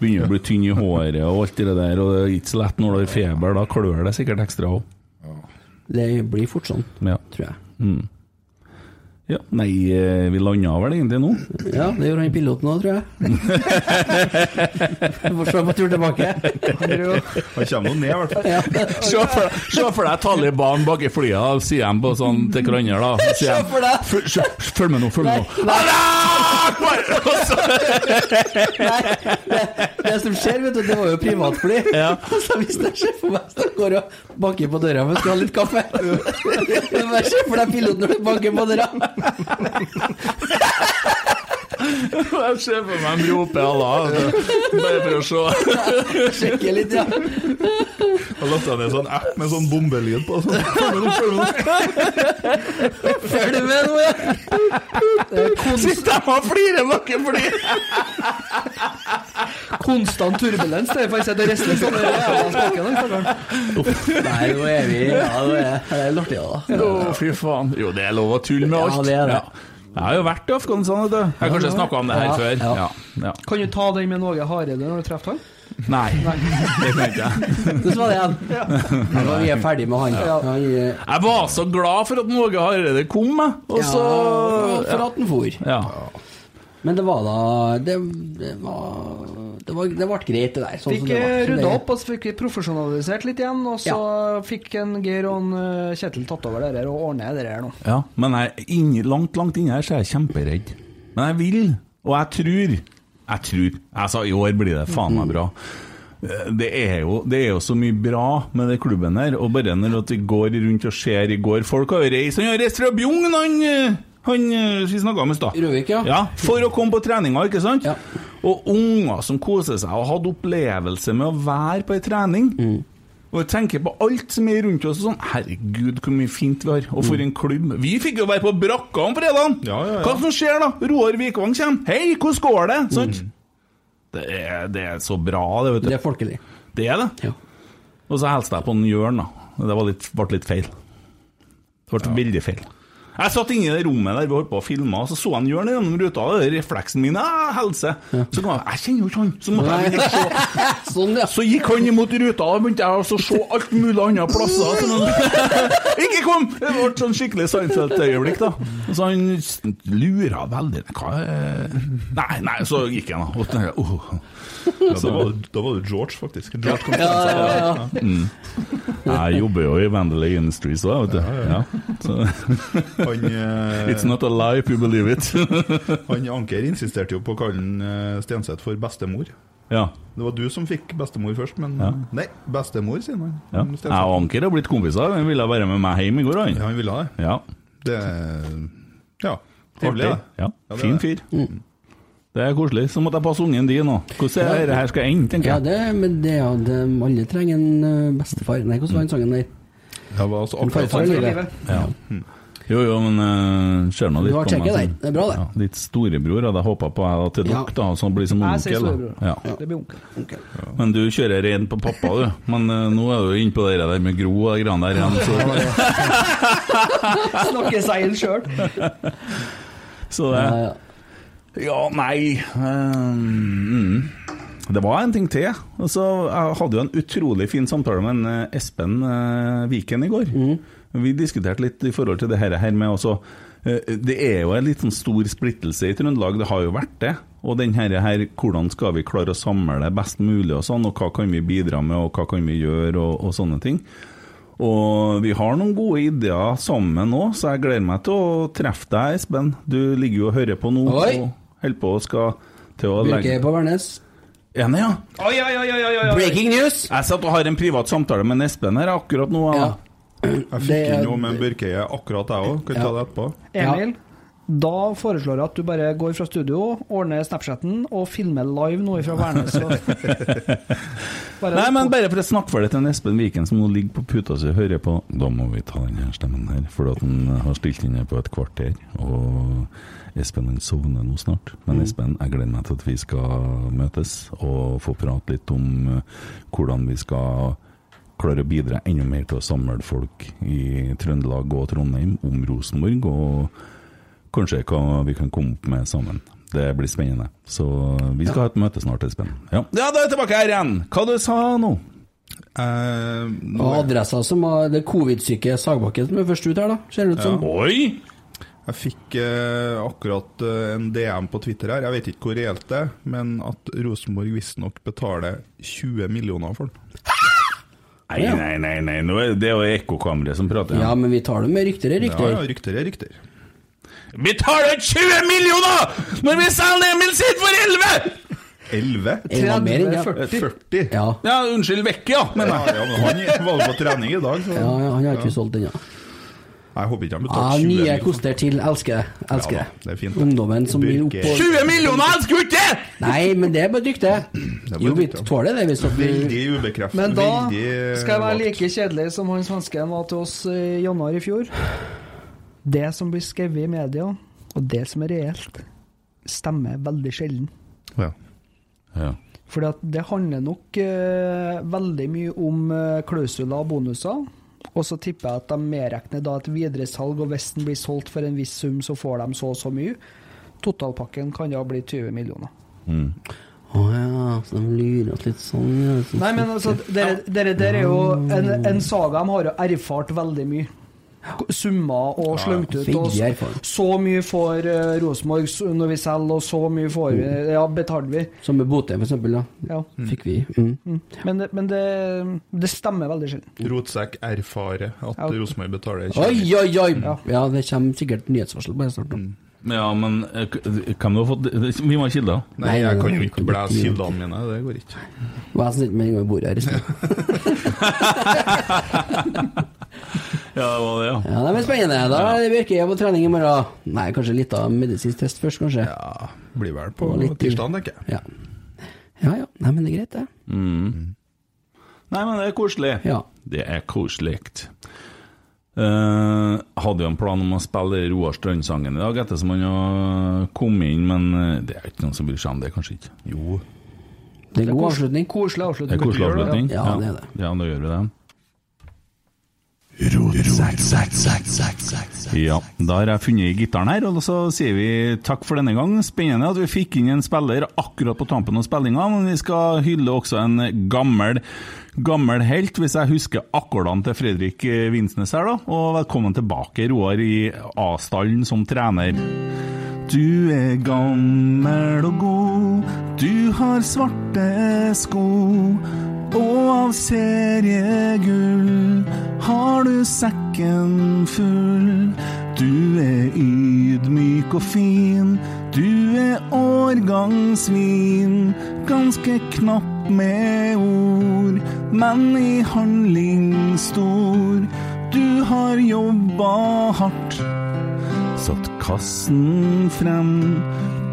D: begynner å bli tynn i håret og alt det der, og det er ikke så lett når du har feber, da klør det sikkert ekstra òg.
B: Det blir fort sånn,
D: Ja.
B: tror jeg.
D: Ja, nei, eh, vi landa vel egentlig nå.
B: Ja, det gjør han piloten òg, tror jeg. Vi får se på tur tilbake.
F: Han kommer nå ned, i hvert fall.
B: Ja.
D: Se for, deg Taliban bak i flyet, og sier de på sånn til hverandre, da.
B: sier Se de, for deg.
D: Følg med nå, Ah, følg med nå.
B: Det som skjer, vet du, det var jo privatfly.
D: Ja.
B: Så hvis det skjer for meg, så går jeg og banker på døra for jeg skal ha litt kaffe. Det bare skjer for deg piloten når du banker på døra.
D: Jeg ser for meg de roper Allah, altså. bare for å se.
B: Sjekker litt, ja.
F: Og lasta ned sånn app med sånn bombelyd på. Sånn. Følg med nå, følg med nå.
B: Følg med nå, ja.
D: Hvis de har flire bak i flyet!
E: Konstant turbulens, det er faktisk et restløst sånn jævla altså. spaken. den stakkaren.
B: Nei, nå er vi Ja, nå er det er artig, da.
D: Å, fy faen. Jo, det er lov å tulle med
B: Ja,
D: alt.
B: det er det.
D: Jeg har jo vært i Afghanistan, vet du. Jeg har kanskje snakka om det her
B: Ja,
D: før.
B: ja.
D: Ja, ja.
E: Kan du ta den med Norge Hareide når du treffer han?
D: Nei, det kan jeg ikke.
B: Hvordan var det igjen? Ja, da, vi er ferdig med han. han eh,
D: Jeg var så glad for at Norge Hareide kom, jeg. Og så
B: ja, For at han for.
D: ja.
B: Men det var da Det, det var det var- det ble greit, det der. Sånn som
E: Fikk
B: det var. Så
E: rydda
B: det-
E: opp og så fikk vi profesjonalisert litt igjen, og så fikk en Geir og en eh, Kjetil tatt over det der og ordna det der nå.
D: ja. Men jeg, inni- langt, langt inni her så er jeg kjemperedd. Men jeg vil, og jeg tror Jeg tror. Jeg sa i år blir det faen meg bra. Eh, Det er, jo, det er jo så mye bra med den klubben her, og bare når at vi går rundt og ser i går Folk har jo reist Han har reist fra Bjugn, han, eh, han eh, vi snakka om i stad.
B: Røvik, ja.
D: Ja, for å komme på treninga, ikke sant?
B: Ja.
D: Og unger som koser seg og hadde opplevelse med å være på ei trening. Og jeg tenker på alt som er rundt oss og sånn. Herregud, hvor mye fint vi har. Og for en klubb. Vi fikk jo være på brakka om fredagen!
F: Ja, ja, ja.
D: Hva som skjer da? Roar Vikvang kommer. Hei, hvordan går det? Sant? Det, er, det er så bra, det, vet du.
B: Det er folkelig.
D: Det er det.
B: Ja.
D: Og så hilste jeg på en Jørn, da. Det var litt, ble litt feil. Det ble veldig feil. Jeg satt inne i det rommet der vi holdt på å filme, og så så jeg en hjørne gjennom ruta, og det er refleksen min ah, helse. Så kom jeg Jeg kjenner jo ikke han! Så måtte jeg liksom se.
B: Sånn, ja.
D: Så gikk han imot ruta, og begynte jeg også å se alt mulig andre plasser. Sånn, ikke kom! Det ble sånn skikkelig Seinfeld-øyeblikk, da. Så han lura veldig Hva er Nei, nei, så gikk han, da. Og tenkte jeg, «Åh».
F: Ja, da, var, da var det George, faktisk. George kom
B: Ja, ja, ja, ja.
D: Jeg jobber jo i Vandelay Industries òg, vet du. Ja, Så,
F: Han, eh,
D: It's not a lie if you believe it.
F: han Anker insisterte jo på å kalle han, eh, Stenseth for bestemor.
D: ja.
F: Det var du som fikk bestemor først, men
D: Ja.
F: Nei, bestemor, sier han.
D: ja.
F: Stenseth.
D: Jeg og Anker har blitt kompiser. Han ville være med meg hjem i går,
F: Ja,
D: han.
F: han ville ha det.
D: Ja.
F: Det Ja. Trivelig,
D: Artig.
F: da.
D: Ja.
F: Ja, det er
D: Fin
F: det.
D: fyr.
B: Mm.
D: Det er koselig. Så måtte jeg passe ungen din nå. Hvordan er det her skal ende, tenker
B: Ja,
D: jeg.
B: det, men det, er jo det, alle trenger en ø, bestefar. Nei, hvordan var den sangen der?
F: Ja, var altså
B: En
F: akkurat
B: farfar i
F: sånn.
B: livet.
D: Jo, jo, men uh, ser nå
B: Du
D: litt
B: har sjekket
D: sånn.
B: der. Det er bra, det.
D: Ja, ditt storebror hadde jeg håpa på jeg da, til
B: Ja.
D: dere, da, så han blir som
E: Jeg sier
D: onkel.
E: storebror.
D: da. Ja.
E: Det blir onkel.
B: Ok.
D: Men du kjører rein på pappa, du. Men eh, nå er du jo inne på det der med Gro og de greiene der igjen. Så
E: Snakker seg inn sjøl.
D: Så eh, det
B: Ja, ja.
D: Ja, nei ehm, mm. Det var en ting til. Altså, jeg hadde jo en utrolig fin samtale med en eh, Espen eh, Viken i går. Vi diskuterte litt i forhold til det her her med også eh, Det er jo en litt sånn stor splittelse i Trøndelag, det har jo vært det. Og den her, her hvordan skal vi klare å samle det best mulig og sånn, og hva kan vi bidra med, og hva kan vi gjøre, og, og sånne ting. Og vi har noen gode ideer sammen òg, så jeg gleder meg til å treffe deg, Espen. Du ligger jo og hører på nå
B: Oi.
D: og holder på og skal til å legge
B: Byrke på Værnes.
D: Enig, ja.
E: Oi, oi, oi, oi, oi, oi.
B: Breaking news!
D: Jeg satt og har en privat samtale med Espen her akkurat nå.
B: Ja.
D: Ja.
F: Jeg
B: Det
F: fikk
B: er-
F: inn noe med Børkeie akkurat, jeg òg. Kan vi ta det etterpå?
E: Emil, da foreslår jeg at du bare går fra studio, ordner Snapchatten og filmer live noe fra Værnes. og- Bare-
D: Nei, men bare for å snakke for det til en Espen Viken som nå ligger på puta si og hører på Da må vi ta den her stemmen her, for at han har stilt inn her på et kvarter. Og Espen han sovner nå snart. Men Espen, jeg gleder meg til at vi skal møtes og få prate litt om eh, hvordan vi skal klare å bidra enda mer til å samle folk i Trøndelag og Trondheim om Rosenborg, og kanskje hva vi kan komme opp med sammen. Det blir spennende. Så vi skal ha et møte snart, Espen. Ja, ja da er jeg tilbake her igjen! Hva du sa nå?
F: Eh, nå-
B: Og adressa som var det covid-syke Sagbakken som er først ut her, da. Ser det ut som.
D: Oi!
F: Jeg fikk eh, akkurat eh, en DM på Twitter her, jeg vet ikke hvor reelt det er, men at Rosenborg visstnok betaler 20 millioner for den.
D: Nei, nei, nei, nei. Nå er det er jo ekkokammeret som prater.
B: Ja, men vi tar det med rykter i
F: Ja, ja,
B: rykter.
F: rykter er rykter.
D: Vi tar ut 20 millioner når vi selger Emil sitt for 11!
F: 11?
B: Det var mer enn det.
F: 40?
B: Ja.
D: Ja, unnskyld, vekk, ja. Men
F: Men, ja, ja, men han var jo på trening i dag, så
B: Ja, ja, han har ikke solgt den, ja.
F: jeg håper ikke han
B: Ja,
F: betalte 20
B: nye
F: millioner.
B: Ah, koster til. Elsker det. Elsker
F: Ja da, det
B: det.
F: er fint, det.
B: Ungdommen som vil opp
F: Byrke.
B: og
D: 20 millioner, jeg skulle ikke det!
B: Nei, men det er bare dyktig.
F: bare
B: Jo, vi
F: dyktig, ja.
B: tåler det hvis at vi
F: Veldig ubekreftet.
E: Men da
F: veldig
E: skal jeg være
F: vagt.
E: like kjedelig som han svensken var til oss i januar i fjor. Det som blir skrevet i media, og det som er reelt, stemmer veldig sjelden.
F: Ja.
D: Ja.
E: Fordi at det handler nok eh, veldig mye om eh, klausuler og bonuser. Og så tipper jeg at de medregner da et videresalg, og hvis den blir solgt for en viss sum, så får de så og så mye. Totalpakken kan da bli 20 millioner.
B: Å ja, så de lurer oss litt sånn. Ja, så
E: Nei, men altså, dere, dere, dere er jo en, en saga de har jo erfart veldig mye. Summer og slengt ut. Og
B: Veldig
E: så,
B: erfart.
E: så mye får eh, Rosenborg s- når vi selger, og så mye får vi
B: Mm.
E: Ja, betaler vi.
B: Som med Botheim, for eksempel. Da.
E: Ja.
B: Fikk vi. Mm.
E: Men, det- men det, det stemmer veldig sjelden.
F: Rotsekk erfarer at
E: Ja.
F: Rosenborg betaler 20
B: Oi,
F: millioner.
B: oi, oi! Ja, det kommer sikkert nyhetsvarsel på det snart. nå.
F: Mm.
D: Ja, men eh, k- kan du ha fått Vi må ha kilder.
F: Nei,
B: Nei, nei,
F: jeg kan jo
B: nei,
F: ikke
B: kan
F: blæse
B: ikke.
F: kildene mine, det går ikke.
B: Og jeg som sitter med en gang i bordet her i sted.
D: Ja, det var det, ja.
B: Ja, det blir spennende. Da er det Bjørke på trening i morgen. Nei, kanskje litt av medisinsk test først, kanskje.
F: Ja, blir vel på
B: Og litt-
F: tirsdag, tenker jeg.
B: Ja. Ja ja. Nei, men det er greit, det.
D: Nei, men det er koselig.
B: Ja.
D: Det er koselig. Eh, hadde jo en plan om å spille Roar Strønd-sangen i dag, ettersom han har kommet inn, men eh, det er ikke noen som bryr seg om det, kanskje ikke.
F: Jo.
B: Det er en god
E: Kos-
B: avslutning.
E: Koselig
D: Det
E: avslutning.
D: er koselig avslutning.
B: Ja, det er det.
D: Ja, da gjør vi det. Ja, da har jeg funnet gitaren her, og så sier vi takk for denne gang. Spennende at vi fikk inn en spiller akkurat på tampen av spillinga, men vi skal hylle også en gammel, gammel helt, hvis jeg husker akkordene til Fredrik eh, Vinsnes her, da. Og velkommen tilbake, Roar, i A-stallen som trener. Du er gammel og god, du har svarte sko. Og av seriegull har du sekken full. Du er ydmyk og fin, du er årgangsvin. Ganske knapp med ord, men i handling stor. Du har jobba hardt satt kassen frem.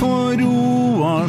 D: for Roar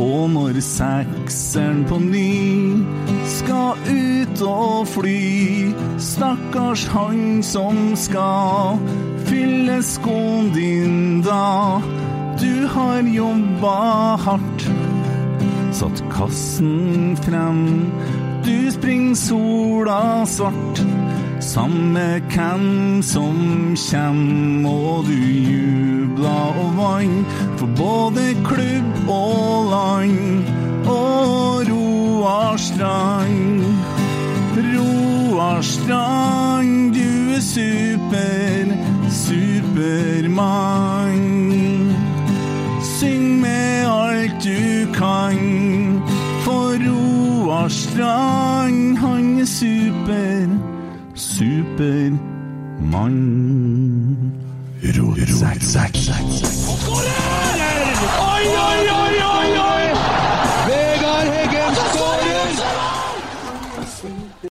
D: Og når sekseren på ny skal ut og fly, stakkars han som skal fylle skoen din da. Du har jobba hardt, satt kassen frem. Du springer sola svart, samme hvem som kjem. Og du jubla og vann for både klubb og land. Og Roar Strand, Roar Strand, du er super, supermann. Syng med alt du kan, for Roar Strand, han er super, supermann.
A: Oi, oi, oi!